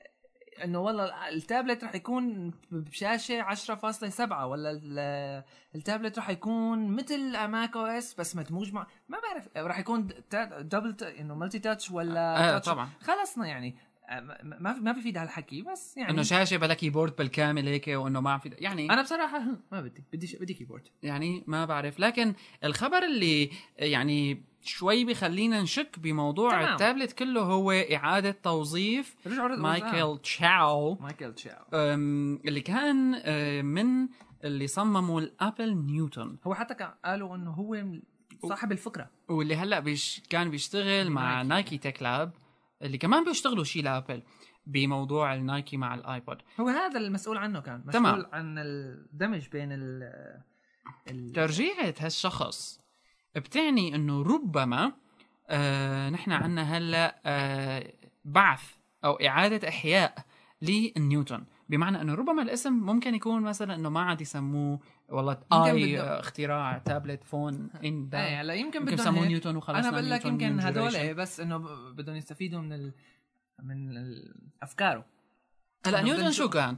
انه والله التابلت رح يكون بشاشه 10.7 ولا ال- التابلت رح يكون مثل ماك او اس بس مدموج مع ما بعرف رح يكون تا- دبل تا- انه ملتي تاتش ولا آه تاتش. طبعا خلصنا يعني آه، ما ما في- ما بفيد هالحكي بس يعني انه شاشه بلا كيبورد بالكامل هيك وانه ما عم في يعني انا بصراحه هم، ما بدي بدي ش- بدي كيبورد يعني ما بعرف لكن الخبر اللي يعني شوي بخلينا نشك بموضوع تمام. آه. تمام. التابلت كله هو اعاده توظيف رجعوا رجعوا- مايكل تشاو آه، مايكل تشاو أم، اللي كان أه، من اللي صمموا الابل نيوتن هو حتى كان قالوا انه هو صاحب الفكره واللي هلا بيش كان بيشتغل مع نايكي. نايكي تك لاب اللي كمان بيشتغلوا شيء لابل بموضوع النايكي مع الايبود هو هذا المسؤول عنه كان مسؤول تمام. تمام. عن الدمج بين ال ال ترجيعة هالشخص بتعني انه ربما آه نحن عنا هلا آه بعث او اعادة احياء لنيوتن بمعنى انه ربما الاسم ممكن يكون مثلا انه ما عاد يسموه والله يمكن اي بدهم- آه، اختراع تابلت فون ان ايه ده هلا يمكن يمكن بدهم سموه هيك. نيوتن وخلص انا بقول لك يمكن هدول بس انه ب- بدهم يستفيدوا من ال من ال- افكاره هلا إنه بدنا نيوتن شو نشوف. كان؟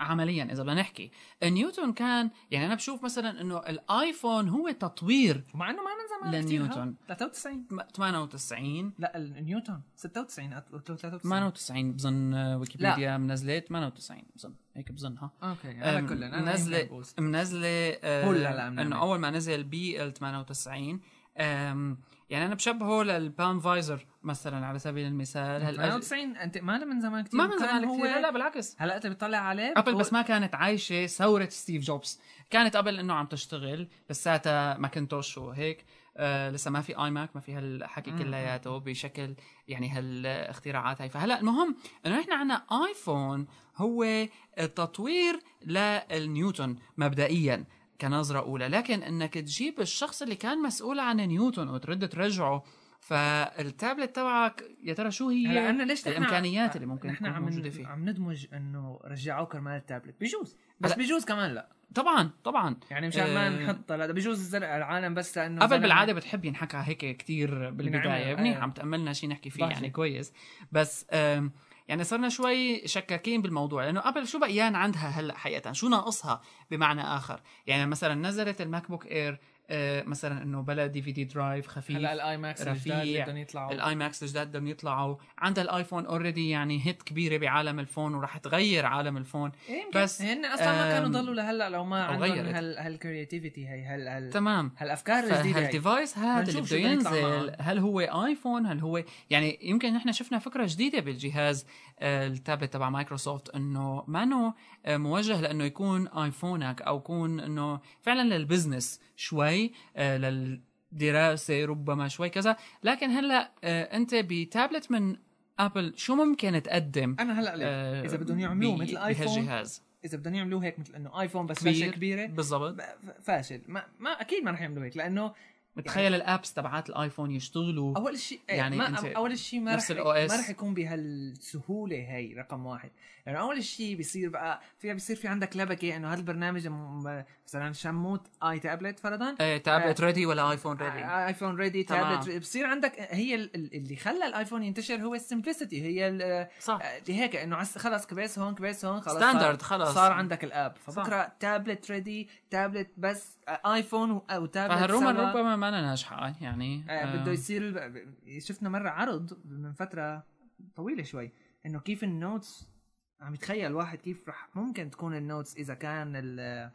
عمليا اذا بدنا نحكي نيوتن كان يعني انا بشوف مثلا انه الايفون هو تطوير ومع انه ما من زمان كتير لنيوتن. هاد. 93 98 لا ال- نيوتن 96 أت- أو 93 98 بظن آه، ويكيبيديا منزله 98 بظن هيك بظنها اوكي على أم، كل أنا منزلة- يمكن بوست. منزله آه، هلا لا، منعمل. انه اول ما نزل بي ال 98 أم، يعني انا بشبهه للبان فايزر مثلا على سبيل المثال هلا 98 انت ما له من زمان كثير ما من كان زمان هو- كثير لا لا بالعكس هلا انت بتطلع عليه ابل بس بتقول- ما كانت عايشه ثوره ستيف جوبز كانت قبل انه عم تشتغل لساتها ماكنتوش وهيك آه لسه ما في اي ماك ما في هالحكي مم. كلياته بشكل يعني هالاختراعات هاي فهلا المهم انه نحن عنا ايفون هو التطوير للنيوتن مبدئيا كنظره اولى لكن انك تجيب الشخص اللي كان مسؤول عن نيوتن وترد ترجعه فالتابلت تبعك يا ترى شو هي هلا انا ليش نحن- الامكانيات اللي ممكن نحن تكون عم موجوده ن- فيه عم ندمج انه رجعوه كرمال التابلت بيجوز بس هلا- بيجوز كمان لا طبعا طبعا يعني مشان ما آه. نحط لا بيجوز زرق العالم بس لانه قبل زلمة- بالعاده بتحب ينحكى هيك كتير بالبدايه ينعمل، منيح آه. عم تاملنا شيء نحكي فيه ضحكة. يعني كويس بس آم، يعني صرنا شوي شكاكين بالموضوع لانه قبل شو بقيان عندها هلا حقيقه شو ناقصها بمعنى اخر يعني مثلا نزلت الماك بوك اير آه، مثلا انه بلا دي في دي درايف هلا خفيف الاي ماكس رفيع. الجداد اللي بدهم يطلعوا الاي ماكس الجداد بدهم يطلعوا عندها الايفون اوريدي يعني هيت كبيره بعالم الفون وراح تغير عالم الفون بس، بس إيه، هن اصلا ما كانوا آم، ضلوا لهلا لو ما أو عندهم غيرت. هال هالكرياتيفيتي هي هال هال تمام هالافكار الجديده هي. فالديفايس هذا اللي منشوف بده شو بده يطلع ينزل معه. هل هو ايفون هل هو يعني يمكن نحن شفنا فكره جديده بالجهاز آه، التابلت تبع مايكروسوفت انه مانو آه، موجه لانه يكون ايفونك او يكون انه فعلا للبزنس شوي آه، للدراسه ربما شوي كذا لكن هلا آه، انت بتابلت من ابل شو ممكن تقدم انا هلا ليه؟ آه، إذا بدهم يعملوه ب- مثل آيفون، بهالجهاز اذا بدهم يعملوه هيك مثل انه ايفون بس كبير. شاشه كبيره بالضبط ب- فاشل ما, ما اكيد ما رح يعملوا هيك لانه تخيل الابس تبعات الايفون يشتغلوا اول شيء يعني يعني ما أنت اول شيء ما نفس رح ال OS. ما رح يكون بهالسهوله هي رقم واحد لانه يعني اول شيء بيصير بقى في بيصير في عندك لبكه انه هذا البرنامج م- مثلا شموت اي تابلت فرضا آه، تابلت ريدي ولا ايفون ريدي آ- ايفون ريدي تمام. تابلت بصير عندك هي ال- ال- اللي خلى الايفون ينتشر هو السمبلسيتي هي ال- صح اللي هيك انه عس- خلص كبس هون كبس هون خلص ستاندرد صار- خلص. صار عندك الاب فبكره تابلت ريدي تابلت بس آ- ايفون و- او تابلت فهالرومر سوا. ربما ما ناجحه يعني آه، بده يصير ب- شفنا مره عرض من فتره طويله شوي انه كيف النوتس عم يتخيل واحد كيف رح ممكن تكون النوتس اذا كان ال-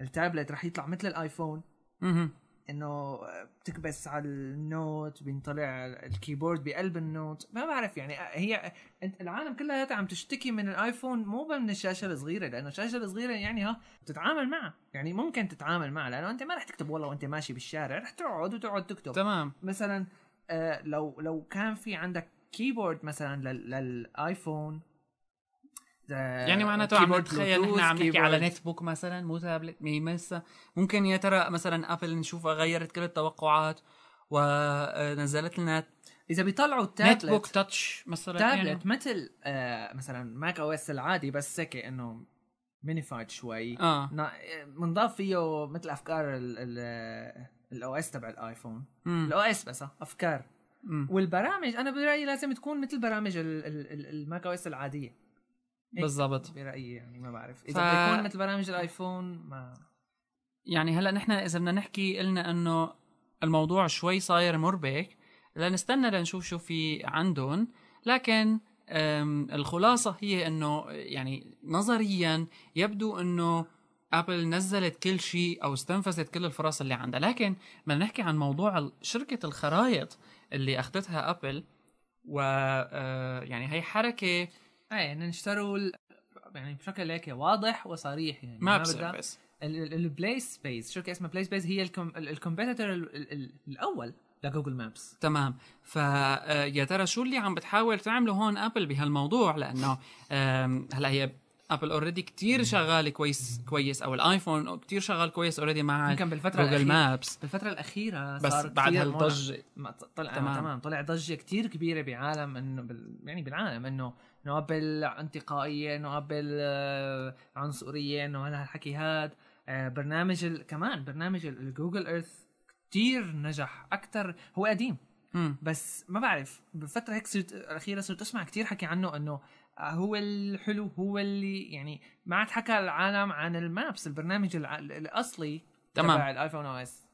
التابلت رح يطلع مثل الايفون مهم. انه بتكبس على النوت بينطلع الكيبورد بقلب النوت ما بعرف يعني هي أنت- العالم كلها عم تشتكي من الايفون مو بس من الشاشه الصغيره لانه الشاشه الصغيره يعني ها بتتعامل معها يعني ممكن تتعامل معها لانه انت ما رح تكتب والله وانت ماشي بالشارع رح تقعد وتقعد تكتب تمام مثلا آه لو لو كان في عندك كيبورد مثلا لل- آه، للايفون يعني معناته عم نتخيل نحن عم نحكي على نت بوك مثلا مو تابلت ميمسة ممكن يا ترى مثلا ابل نشوفها غيرت كل التوقعات ونزلت لنا اذا بيطلعوا نت بوك التابلت تاتش مثلا يعني. تابلت مثل آه مثلا ماك او اس العادي بس هيك انه مينيفايد شوي اه بنضاف فيه مثل افكار الاو اس تبع الايفون مم. الاو اس بس آه، افكار مم. والبرامج انا برايي لازم تكون مثل برامج ال- ال- ال- الماك او اس العاديه بالضبط برايي يعني ما بعرف ف- اذا ف... بيكون مثل برامج الايفون ما يعني هلا نحن اذا بدنا نحكي قلنا انه الموضوع شوي صاير مربك لنستنى لنشوف شو في عندهم لكن أم، الخلاصه هي انه يعني نظريا يبدو انه ابل نزلت كل شيء او استنفذت كل الفرص اللي عندها لكن بدنا نحكي عن موضوع ال- شركه الخرايط اللي اخذتها ابل و آه، يعني هي حركه ايه يعني اشتروا ال... يعني بشكل هيك واضح وصريح يعني ماب بدها- سيرفيس ال- ال- البلاي سبيس شركه اسمها بلاي سبيس هي الكم... ال- الكومبيتيتور ال... ال... ال... الاول لجوجل مابس تمام فيا ترى شو اللي عم بتحاول تعمله هون ابل بهالموضوع لانه آم، هلا هي ابل اوريدي كتير شغال كويس كويس او الايفون كتير شغال كويس اوريدي مع يمكن بالفتره جوجل الاخيره مابس بالفتره الاخيره بس صار بعد كتير هالضجه ما ط- طلع تمام. تمام. تمام طلع ضجه كتير كبيره بعالم انه بال... يعني بالعالم انه انه ابل انتقائيه انه ابل آه، عنصريه انه هذا الحكي هاد آه، برنامج ال... كمان برنامج ال- الجوجل ايرث كتير نجح اكثر هو قديم مم. بس ما بعرف بفتره هيك صرت الاخيره صرت اسمع كتير حكي عنه انه هو الحلو هو اللي يعني ما عاد حكى العالم عن المابس البرنامج الع... الاصلي تمام. تبع الايفون او اس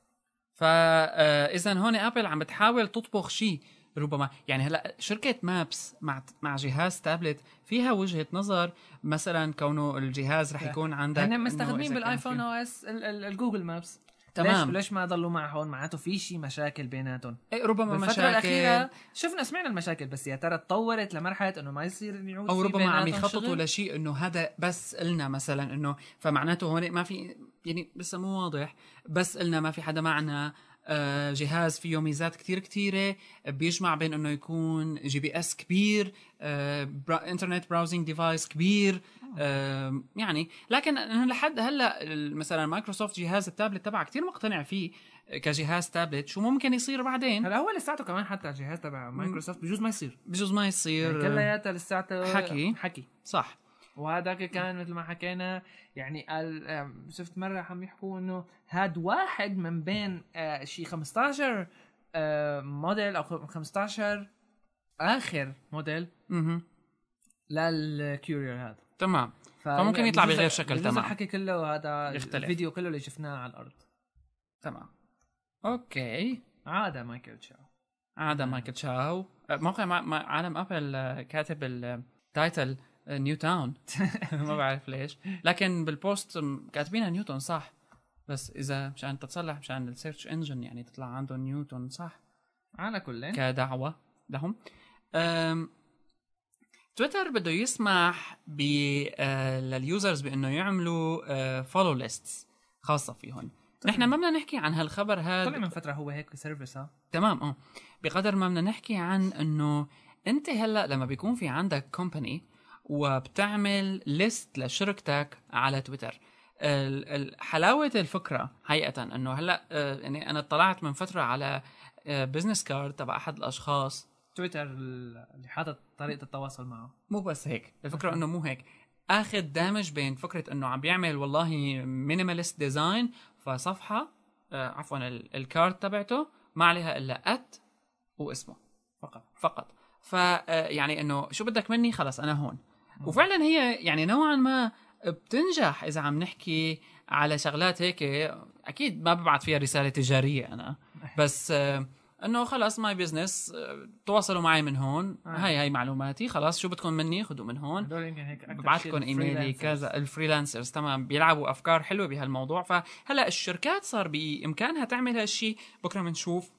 فاذا آه، هون ابل عم بتحاول تطبخ شيء ربما يعني هلا شركه مابس مع مع جهاز تابلت فيها وجهه نظر مثلا كونه الجهاز رح يكون عندك هن إنه مستخدمين إذا كان بالايفون في- او اس الجوجل مابس تمام ليش, ليش ما ضلوا مع هون معناته في شيء مشاكل بيناتهم إيه، ربما بالفترة مشاكل الأخيرة شفنا سمعنا المشاكل بس يا ترى تطورت لمرحلة إنه ما يصير نعود او في ربما عم بيناتهم يخططوا شغل؟ لشيء انه هذا بس قلنا مثلا انه فمعناته هون ما في يعني لسه مو واضح بس قلنا ما في حدا معنا آه، جهاز فيه ميزات كتير كتيرة بيجمع بين انه يكون جي بي اس كبير آه، برا انترنت براوزنج ديفايس كبير آه، يعني لكن أنا لحد هلا ال- مثلا مايكروسوفت جهاز التابلت تبعها كتير مقتنع فيه كجهاز تابلت شو ممكن يصير بعدين هلا هو لساته كمان حتى الجهاز تبع مايكروسوفت بجوز ما يصير بجوز ما يعني يصير آه، كلياتها لساته حكي. حكي صح وهذاك كان مثل ما حكينا يعني قال آم، شفت مره عم يحكوا انه هاد واحد من بين آه، شي 15 آه، موديل او خم- 15 اخر موديل مهم. للكيورير هذا تمام ف- فممكن يطلع بجوز- بغير شكل بجوز تمام. الحكي كله هذا يختلف. الفيديو كله اللي شفناه على الارض تمام اوكي عاده مايكل تشاو عادة مايكل تشاو أه، موقع ما ما- عالم ابل أه، كاتب التايتل نيو تاون ما بعرف ليش لكن بالبوست م- كاتبينها نيوتن صح بس اذا مشان تتصلح مشان السيرش انجن يعني تطلع عنده نيوتن صح على كل كدعوه لهم أم، تويتر بده يسمح ب أه، لليوزرز بانه يعملوا أه، فولو ليستس خاصه فيهم نحن ما بدنا نحكي عن هالخبر هذا طلع من فتره هو هيك سيرفيس ها تمام اه بقدر ما بدنا نحكي عن انه انت هلا لما بيكون في عندك كومباني وبتعمل ليست لشركتك على تويتر ال- ال- حلاوه الفكره حقيقه انه هلا آه، يعني انا اطلعت من فتره على بزنس كارد تبع احد الاشخاص تويتر اللي حاطط طريقه التواصل معه مو بس هيك الفكره انه مو هيك اخذ دامج بين فكره انه عم بيعمل والله مينيماليست ديزاين فصفحه آه، عفوا ال- الكارد تبعته ما عليها الا ات واسمه فقط فقط ف آه، يعني انه شو بدك مني خلص انا هون وفعلا هي يعني نوعا ما بتنجح اذا عم نحكي على شغلات هيك اكيد ما ببعت فيها رساله تجاريه انا بس آه، انه خلص ماي بزنس تواصلوا معي من هون آه. هاي هاي معلوماتي خلاص شو بدكم مني خذوا من هون هدول يمكن هيك أكتر شيء ببعتكم ايميلي freelancers. يعني كذا الفريلانسرز تمام بيلعبوا افكار حلوه بهالموضوع فهلا الشركات صار بامكانها تعمل هالشيء بكره بنشوف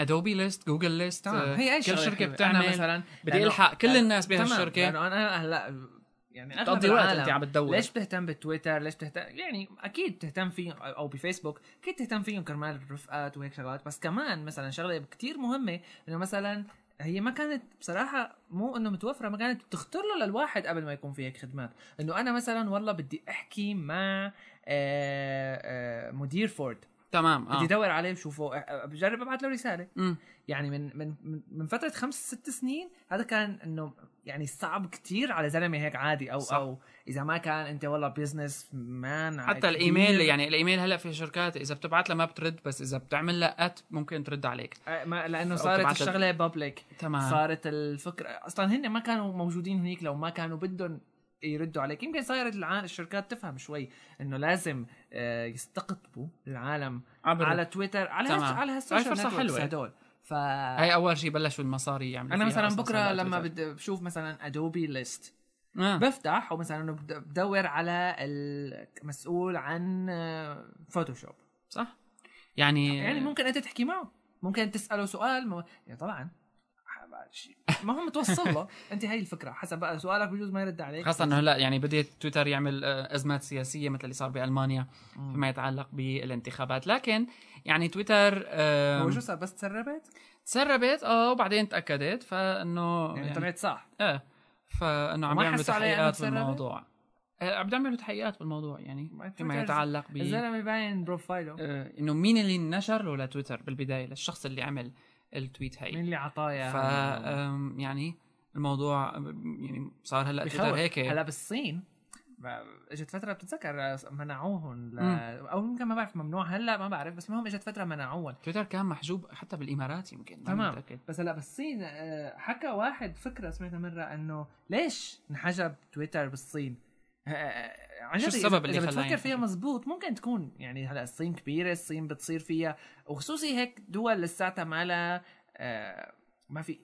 ادوبي ليست جوجل ليست تمام هي اي آه، كل شغلة شركه حلوة. أنا بتعمل مثلا بدي لأنه- الحق كل لأنه- الناس بهالشركه لانه انا هلا يعني اغلب تقضي وقت انت العالم عم تدور ليش بتهتم بالتويتر ليش بتهتم يعني اكيد بتهتم فيه او بفيسبوك اكيد بتهتم فيهم كرمال الرفقات وهيك شغلات بس كمان مثلا شغله كتير مهمه انه مثلا هي ما كانت بصراحة مو انه متوفرة ما كانت بتخطر له للواحد قبل ما يكون في هيك خدمات، انه انا مثلا والله بدي احكي مع آه، آه، مدير فورد، تمام بدي اه ادور عليه وشوفه آه، آه، بجرب ابعث له رسالة، مم. يعني من من من- من فتره خمس ست سنين هذا كان انه يعني صعب كتير على زلمه هيك عادي او صح. صح. او اذا ما كان انت والله بزنس مان حتى الايميل يعني الايميل هلا في شركات اذا بتبعت لها ما بترد بس اذا بتعمل لها ات ممكن ترد عليك ما لانه أو آه. صارت تبعت لل- الشغله بابليك تمام صارت الفكره اصلا هن ما كانوا موجودين هنيك لو ما كانوا بدهم يردوا عليك يمكن صارت العالم الشركات تفهم شوي انه لازم آه، يستقطبوا العالم عبر على تويتر على تمام. هال- على هاي هالسوشيال فرصة نتوركس حلوة. هدول ف هاي اول شيء بلشوا المصاري يعملوا انا فيها مثلا أصلاً بكره على لما تويتر. بدي بشوف مثلا ادوبي ليست آه. بفتح ومثلا انه بد- بدور على المسؤول عن آه، فوتوشوب صح يعني يعني ممكن انت تحكي معه ممكن تساله سؤال مو... يعني طبعا ما هو متوصل له انت هاي الفكره حسب بقى سؤالك بجوز ما يرد عليك خاصة انه هلا يعني بده تويتر يعمل آه، ازمات سياسية مثل اللي صار بالمانيا مم. فيما يتعلق بالانتخابات، لكن يعني تويتر آم، هو شو صار بس تسربت تسربت اه وبعدين تاكدت فانه يعني طلعت صح ايه فانه عم وما بيعملوا حسوا عليها تحقيقات إنه تسربت؟ بالموضوع آه، عم بيعملوا تحقيقات بالموضوع يعني ما فيما تويتر- يتعلق ب الزلمه باين بروفايله آه، انه مين اللي نشر له لتويتر بالبداية للشخص اللي عمل التويت هاي مين اللي عطاه ف اياها؟ آم، يعني الموضوع آم، يعني صار هلا تويتر بخوف. هيك هلا بالصين ما- اجت فتره بتتذكر آه، منعوهم ل... مم. او يمكن ما بعرف ممنوع هلا ما بعرف بس المهم اجت فتره منعوهم تويتر كان محجوب حتى بالامارات يمكن تمام. ما متأكد. طيب، بس هلا بالصين آه، حكى واحد فكره سمعتها مره انه ليش انحجب تويتر بالصين؟ آه، آه، عن شو جد إذا- السبب اللي اذا خلاه بتفكر ينحجب؟ فيها مزبوط ممكن تكون يعني هلا الصين كبيره الصين بتصير فيها وخصوصي هيك دول لساتها ما لها آه، ما في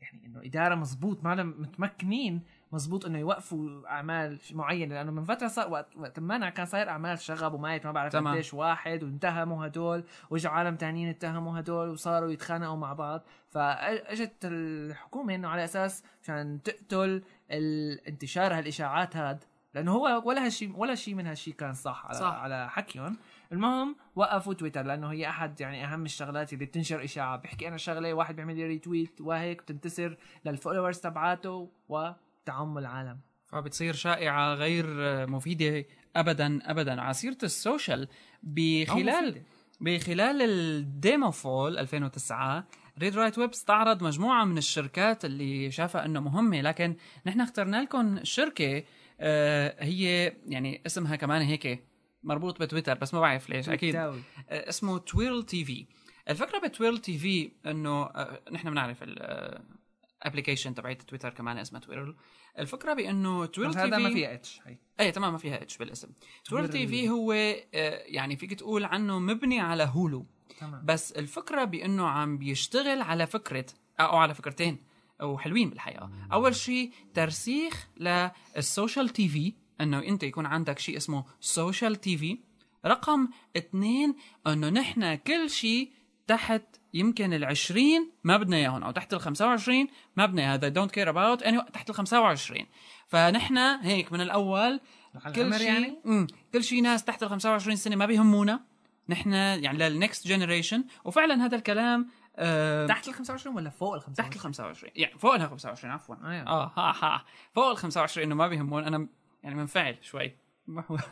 يعني انه اداره مزبوط ما لها متمكنين مزبوط انه يوقفوا اعمال معينه لانه من فتره صار وقت وقت ما كان صاير اعمال شغب وميت ما بعرف تمام. قديش واحد واتهموا هدول واجوا عالم تانيين اتهموا هدول وصاروا يتخانقوا مع بعض فاجت الحكومه انه على اساس مشان تقتل ال- انتشار هالاشاعات هاد لانه هو ولا هالشيء ولا شيء من هالشيء كان صح على صح. صح. على حكيهم المهم وقفوا تويتر لانه هي احد يعني اهم الشغلات اللي بتنشر اشاعه بحكي انا شغله واحد بيعمل لي ريتويت وهيك بتنتسر للفولورز تبعاته وتعم العالم فبتصير شائعه غير مفيده ابدا ابدا على سيره السوشيال بخلال مفيدة. بخلال الديمو فول 2009 ريد رايت ويب استعرض مجموعة من الشركات اللي شافها انه مهمة لكن نحن اخترنا لكم شركة آه، هي يعني اسمها كمان هيك مربوط بتويتر بس ما بعرف ليش اكيد آه، تويتاوي. اسمه تويرل تي في الفكرة بتويرل تي في انه آه، نحن بنعرف الابلكيشن تبعت تويتر كمان اسمها تويرل الفكرة بانه تويرل بس تي هذا في ما فيها اتش هي ايه تمام ما فيها اتش بالاسم تويتر تي غير في هو آه، يعني فيك تقول عنه مبني على هولو تمام بس الفكره بانه عم بيشتغل على فكره او على فكرتين وحلوين بالحقيقه اول شيء ترسيخ للسوشيال تي في انه انت يكون عندك شيء اسمه سوشيال تي في رقم اثنين انه نحن كل شيء تحت يمكن ال 20 ما بدنا اياهم او تحت ال 25 ما بدنا هذا دونت كير اباوت اني تحت ال 25 فنحن هيك من الاول على كل الأمر شيء يعني؟ يعني؟ كل شيء ناس تحت ال 25 سنه ما بيهمونا نحن يعني للنكست جنريشن وفعلا هذا الكلام آه تحت ال 25 ولا فوق ال 25 تحت ال 25 يعني فوق ال 25 عفوا أيوة. اه ها ها فوق ال 25 انه ما بيهمون انا يعني منفعل شوي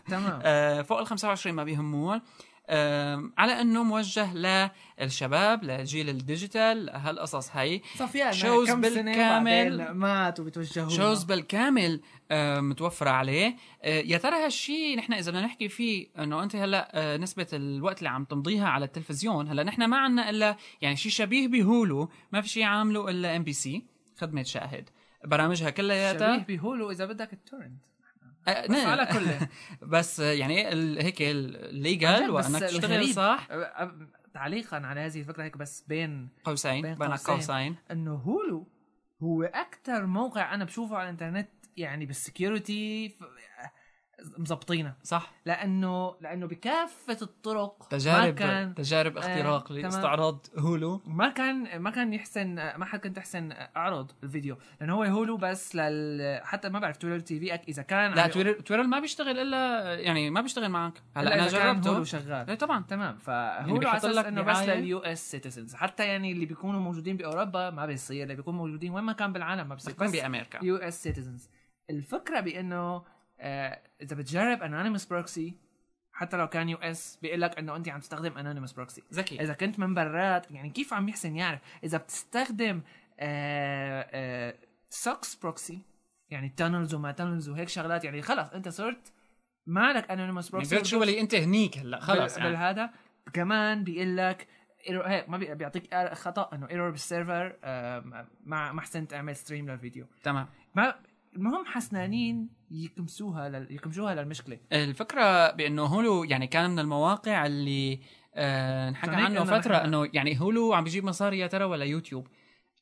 تمام آه، فوق ال 25 ما بيهمون آم، على انه موجه للشباب لجيل الديجيتال هالقصص هي صفيان shows كم بالكامل. سنه بعدين مات وبتوجهوا شوز بالكامل آه، متوفرة عليه آه، يا ترى هالشي نحن إذا بدنا نحكي فيه إنه أنت هلا آه، نسبة الوقت اللي عم تمضيها على التلفزيون هلا نحن ما عنا إلا يعني شي شبيه بهولو ما في شي عامله إلا ام بي سي خدمة شاهد برامجها شبيه كلياتها بهولو اذا بدك التورنت آه، بس نعم. على كله بس آه، يعني ال- هيك عن الليجل جد، بس وانك تشتغل الغريب صح أ- أ- تعليقا على هذه الفكره هيك بس بين قوسين بين بين قوسين. قوسين انه هولو هو اكثر موقع انا بشوفه على الانترنت يعني بالسكيورتي ف- مزبطينه صح لانه لانه بكافه الطرق ما تجارب كان تجارب اختراق آه، تمام. لاستعراض هولو ما كان ما كان يحسن ما حد كنت احسن اعرض الفيديو لانه هو هولو بس لل حتى ما بعرف تويتر تي في أك- اذا كان لا عم- تويتر تويتر ما بيشتغل الا يعني ما بيشتغل معك هلا هلا انا اذا كان هولو جربته شغال ايه طبعا تمام يعني فهو بيحط على اساس لك انه بس دعاية. لليو اس سيتيزنز حتى يعني اللي بيكونوا موجودين باوروبا ما بيصير اللي بيكونوا موجودين وين ما كان بالعالم ما بيصير بتكون بس بامريكا يو اس سيتيزنز الفكره بانه آه، اذا بتجرب انونيمس بروكسي حتى لو كان يو اس بيقول لك انه انت عم تستخدم انونيمس بروكسي ذكي اذا كنت من برات يعني كيف عم يحسن يعرف اذا بتستخدم آه، سوكس بروكسي يعني تانلز وما تانلز وهيك شغلات يعني خلص انت صرت مالك يعني انونيمس بروكسي فيرتشوالي انت هنيك هلا خلص بال- يعني بالهذا كمان بيقول لك ايرور هيك ما بي- بيعطيك إر- خطا انه ايرور بالسيرفر آم، ما ما احسنت اعمل ستريم للفيديو تمام ما المهم حسنانين يكمسوها لل... يكمشوها للمشكله الفكره بانه هولو يعني كان من المواقع اللي آه نحكى صحيح عنه إنه فتره نحن- انه يعني هولو عم بيجيب مصاري يا ترى ولا يوتيوب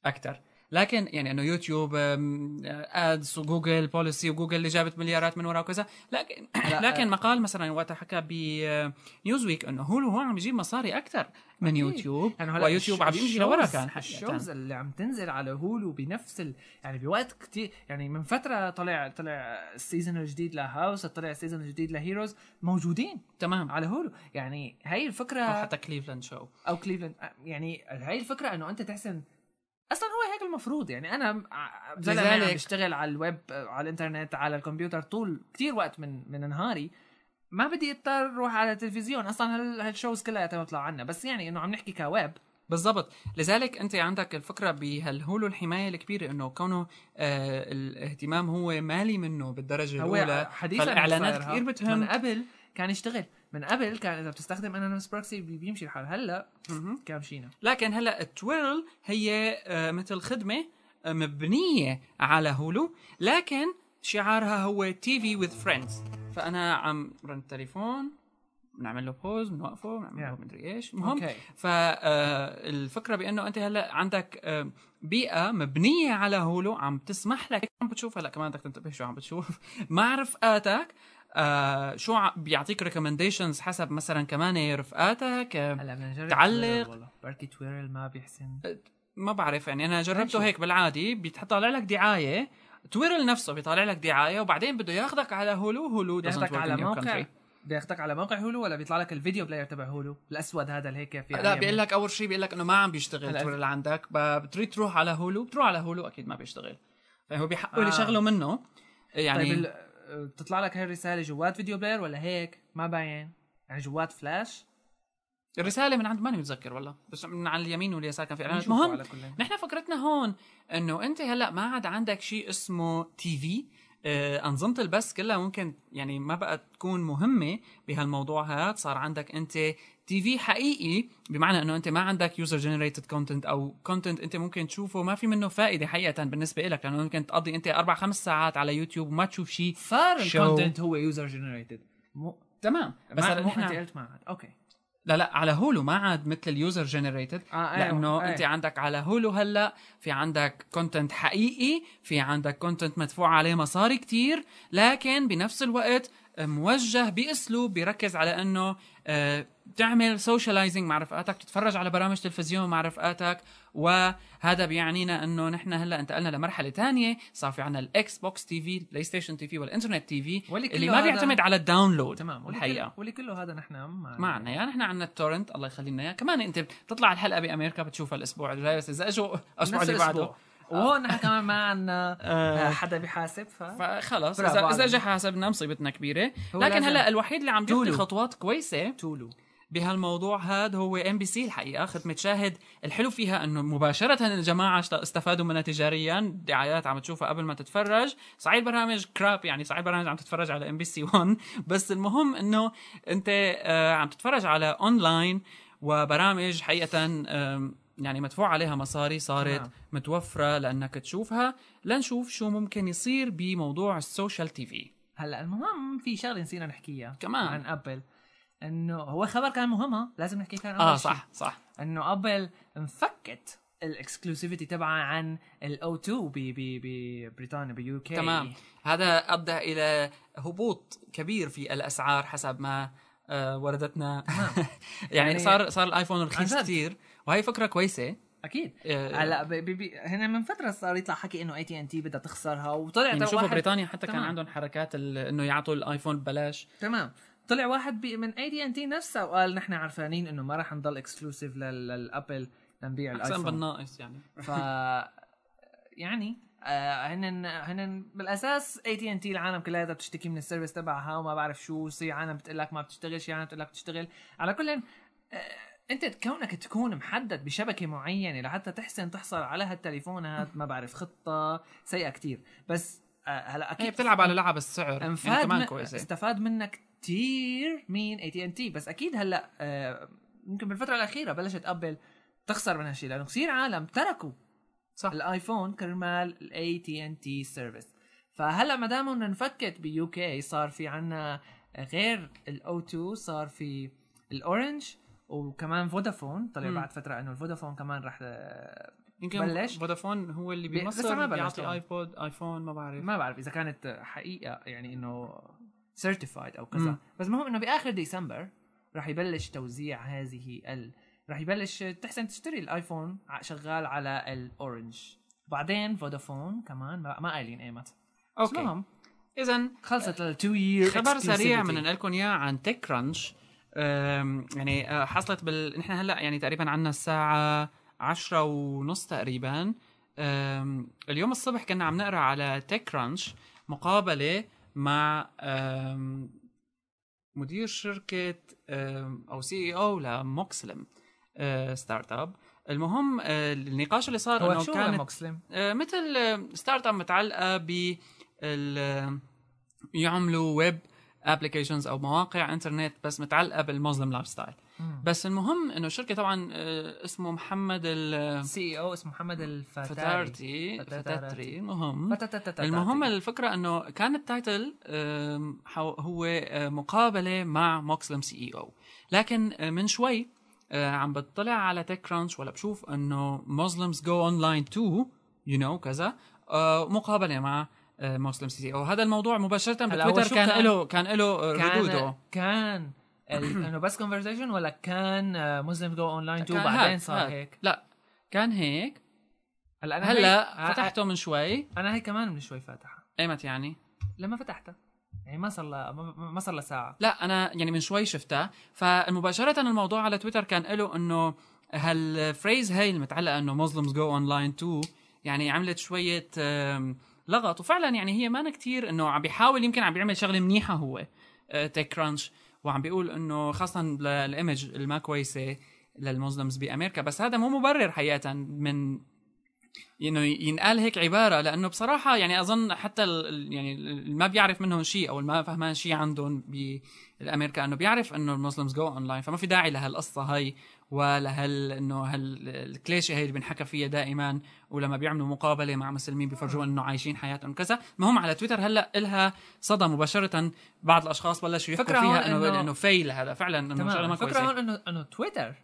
اكثر لكن يعني انه يوتيوب آم، آه، ادس وجوجل بوليسي وجوجل اللي جابت مليارات من ورا وكذا لكن لا، آه. لكن مقال مثلا وقتها حكى بنيوز ويك انه هولو هو عم بيجيب مصاري اكثر من أكيد. يوتيوب يعني هلا ويوتيوب الش- عم يمشي لورا الشوز- كان حقيقه الشوز اللي عم تنزل على هولو بنفس ال... يعني بوقت كتير يعني من فتره طلع طلع السيزون الجديد لهاوس طلع السيزون الجديد لهيروز موجودين تمام على هولو يعني هاي الفكره او حتى كليفلاند شو او كليفلاند يعني هاي الفكره انه انت تحسن اصلا هو هيك المفروض يعني انا ع- زلمه عم لذلك- بشتغل على الويب على الانترنت على الكمبيوتر طول كتير وقت من من نهاري ما بدي اضطر اروح على التلفزيون اصلا هال- هالشوز كلها بتطلع عنا بس يعني انه عم نحكي كويب بالضبط لذلك انت عندك الفكره بهالهولو الحمايه الكبيره انه كونه آه الاهتمام هو مالي منه بالدرجه هو الاولى حديثا فالإعلانات صاير ها. كتير بتهم. من قبل كان يشتغل من قبل كان اذا بتستخدم انونيمس بروكسي بيمشي الحال هلا مهم. كام شينا لكن هلا تويرل هي آه مثل خدمه آه، مبنيه على هولو لكن شعارها هو تي في وذ فريندز فانا عم رن التليفون بنعمل له بوز بنوقفه بنعمل له Yeah. مدري ايش المهم اوكي فالفكره بانه انت هلا عندك آه، بيئه مبنيه على هولو عم تسمح لك عم بتشوف هلا كمان بدك تنتبه شو عم بتشوف مع رفقاتك آه شو ع- بيعطيك ريكومنديشنز حسب مثلا كمان رفقاتك آه، هلا بدنا نجرب تعلق. تويرل والله. بركي تويرل ما بيحسن ما بعرف يعني انا جربته ماشي. هيك بالعادي بيطلع لك دعايه تويرل نفسه بيطلع لك دعايه وبعدين بده ياخذك على هولو هولو doesn't بياخدك work على in your موقع country. بياخدك على موقع هولو ولا بيطلع لك الفيديو بلاير تبع هولو الاسود هذا اللي هيك في لا بيقول لك اول شيء بيقول لك انه ما عم بيشتغل هلا- تويرل عندك ب- بتريد تروح على هولو بتروح على هولو اكيد ما بيشتغل فهو بيحقوا لي آه. شغله منه يعني يعني طيب ال- بتطلع لك هاي الرساله جوات فيديو بلاير ولا هيك ما باين يعني جوات فلاش الرساله من عند ماني متذكر والله بس من على اليمين واليسار كان في اعلانات بنشوفه المهم على كل حال. نحن فكرتنا هون انه انت هلا ما عاد عندك شيء اسمه تي في آه، أنظمة البث كلها ممكن يعني ما بقى تكون مهمة بهالموضوع هذا صار عندك أنت تي في حقيقي بمعنى أنه أنت ما عندك يوزر جنريتد كونتنت أو كونتنت أنت ممكن تشوفه ما في منه فائدة حقيقة بالنسبة لك لأنه ممكن تقضي أنت أربع خمس ساعات على يوتيوب وما تشوف شيء صار Show. الكونتنت هو يوزر جنريتد مو تمام بس بس هلا مو نحن انت قلت ما عاد اوكي لا لا على هولو ما عاد مثل اليوزر جنريتد آه، أيوة، لانه أيوة. انت عندك على هولو هلا في عندك كونتنت حقيقي في عندك كونتنت مدفوع عليه مصاري كتير لكن بنفس الوقت موجه باسلوب بيركز على انه آه، تعمل سوشيالايزنج مع رفقاتك تتفرج على برامج تلفزيون مع رفقاتك وهذا بيعنينا انه نحن هلا انتقلنا لمرحله تانية صار في عندنا الاكس بوكس تي في بلاي ستيشن تي في والانترنت تي في واللي اللي كله ما هذا- بيعتمد على الداونلود تمام واللي الحقيقه كله- واللي كله هذا نحن ما ما عنا اياه نحن يعني عنا التورنت الله يخلينا اياه كمان انت بتطلع الحلقه بامريكا بتشوفها الاسبوع الجاي بس اذا اجوا الاسبوع نفس اللي بعده الاسبوع وهون نحن كمان ما عنا آه. آه، حدا بيحاسب ف فخلص برافو اذا عليك. اذا اجى حسبنا مصيبتنا كبيره هو لكن لازم- هلا الوحيد اللي عم بيخطي تولو. خطوات كويسه تولو بهالموضوع هاد هو ام بي سي الحقيقه خدمه شاهد الحلو فيها انه مباشره الجماعه اشت- استفادوا منها تجاريا دعايات عم تشوفها قبل ما تتفرج صحيح البرنامج كراب يعني صحيح البرنامج عم تتفرج على ام بي سي 1 بس المهم انه انت آه، عم تتفرج على اونلاين وبرامج حقيقه آم، يعني مدفوع عليها مصاري صارت تمام. متوفره لانك تشوفها لنشوف شو ممكن يصير بموضوع السوشيال تي في هلا المهم في شغله نسينا نحكيها كمان. عن ابل انه هو خبر كان مهم ها لازم نحكي كان اه أول شي. صح صح انه ابل انفكت الاكسكلوسيفيتي تبعها عن الاو 2 ببريطانيا بيو كي تمام إيه. هذا ادى الى هبوط كبير في الاسعار حسب ما آه، وردتنا يعني, يعني صار صار الايفون رخيص عن جد. كثير وهي فكره كويسه اكيد آه، هلا ب- ب- ب- هنا من فتره صار يطلع حكي انه اي تي ان تي بدها تخسرها وطلع يعني تو شوفوا واحد- بريطانيا حتى كان تمام. عندهم حركات ال- انه يعطوا الايفون ببلاش تمام طلع واحد بي من اي تي ان تي نفسه وقال نحن عرفانين انه ما راح نضل اكسكلوسيف للابل لنبيع احسن الايفون بالناقص يعني ف يعني آه، هنن هنن بالاساس اي تي ان تي العالم كلها بتشتكي من السيرفيس تبعها وما بعرف شو في عالم بتقول لك ما بتشتغل شي عالم بتقول لك بتشتغل على كل آه، انت كونك تكون محدد بشبكه معينه لحتى تحسن تحصل على هالتليفون هاد ما بعرف خطه سيئه كتير بس آه، هلا هي اكيد بتلعب على لعب السعر يعني انفاد كمان من- كويسه استفاد منك كتير مين اي تي ان تي بس اكيد هلا آه، يمكن بالفتره الاخيره بلشت ابل تخسر من هالشيء لانه كثير عالم تركوا صح. الايفون كرمال الاي تي ان تي سيرفيس فهلا ما دام إنه انفكت بيو كي صار في عنا غير الاو 2 صار في الاورنج وكمان فودافون طلع مم. بعد فتره انه الفودافون كمان راح آه، يمكن بلش. فودافون هو اللي بي- لسه بمصر ما بلش بيعطي يعني. ايبود ايفون ما بعرف ما بعرف اذا كانت حقيقه يعني انه سيرتيفايد او مم. كذا بس المهم انه باخر ديسمبر راح يبلش توزيع هذه ال راح يبلش تحسن تشتري الايفون ع- شغال على الاورنج بعدين فودافون كمان ما, ما قايلين ايمت بس اوكي المهم اذا خلصت ال 2 يير خبر سريع من لكم اياه عن تيك كرانش أم، يعني أه، حصلت بال نحن هلا يعني تقريبا عنا الساعه عشرة ونص تقريبا أم، اليوم الصبح كنا عم نقرا على تيك كرانش مقابله مع أم، مدير شركه أم، او سي اي او لموكسلم أه، ستارت اب المهم أه، النقاش اللي صار هو انه شو كانت كان مسلم آه، مثل آه، ستارت اب متعلقه ب ال- آه، يعملوا ويب ابلكيشنز او مواقع انترنت بس متعلقه بالمسلم لايف ستايل مم. بس المهم انه الشركه طبعا آه، اسمه محمد ال- آه، سي اي او E اسمه محمد الفتاري فتارتي فتاتاري. فتاتري المهم فتاتاتاتاتي. المهم الفكره انه كان التايتل آم، حو- هو آه، مقابله مع موكسلم سي اي او لكن آه، من شوي آه، عم بطلع على تك كرانش ولا بشوف انه Muslims go online too you know كذا آه، مقابله مع مسلم سي او هذا الموضوع مباشره هلا هو بتويتر شو كان كان؟ له كان له ردوده كان كان ال- انه بس كونفرزيشن ولا كان آه، مسلم جو اونلاين تو كان بعدين هاد- صار هاد. هيك لا كان هيك هلا انا هلا هي- فتحته من شوي انا هي كمان من شوي فاتحه ايمت يعني لما فتحتها يعني ما صار لها ما- ما ما صار لها ساعه لا انا يعني من شوي شفتها فمباشره الموضوع على تويتر كان له انه هالفريز هاي المتعلقه انه Muslims go online too يعني عملت شويه آم، لغط وفعلا يعني هي ما كتير انه عم بيحاول يمكن عم بيعمل شغله منيحه هو تيك كرانش وعم بيقول انه خاصه للايمج الما كويسه للمسلمز بامريكا بس هذا مو مبرر حقيقه من انه ينقال هيك عباره لانه بصراحه يعني اظن حتى ال- ال- يعني اللي ما بيعرف منهم شيء او اللي ما فهمان شيء عندهم بالامريكا انه بيعرف انه المسلمز جو اونلاين فما في داعي لهالقصه هاي ولهال انه هالكليشه هي اللي بنحكى فيها دائما ولما بيعملوا مقابله مع مسلمين بيفرجوا انه عايشين حياتهم كذا المهم على تويتر هلا الها صدى مباشره بعض الاشخاص بلشوا يحكوا فكرة هون فيها انه إنه- انه فيل هذا فعلا انه شغله تمام ما الفكره كويسه هون انه انه تويتر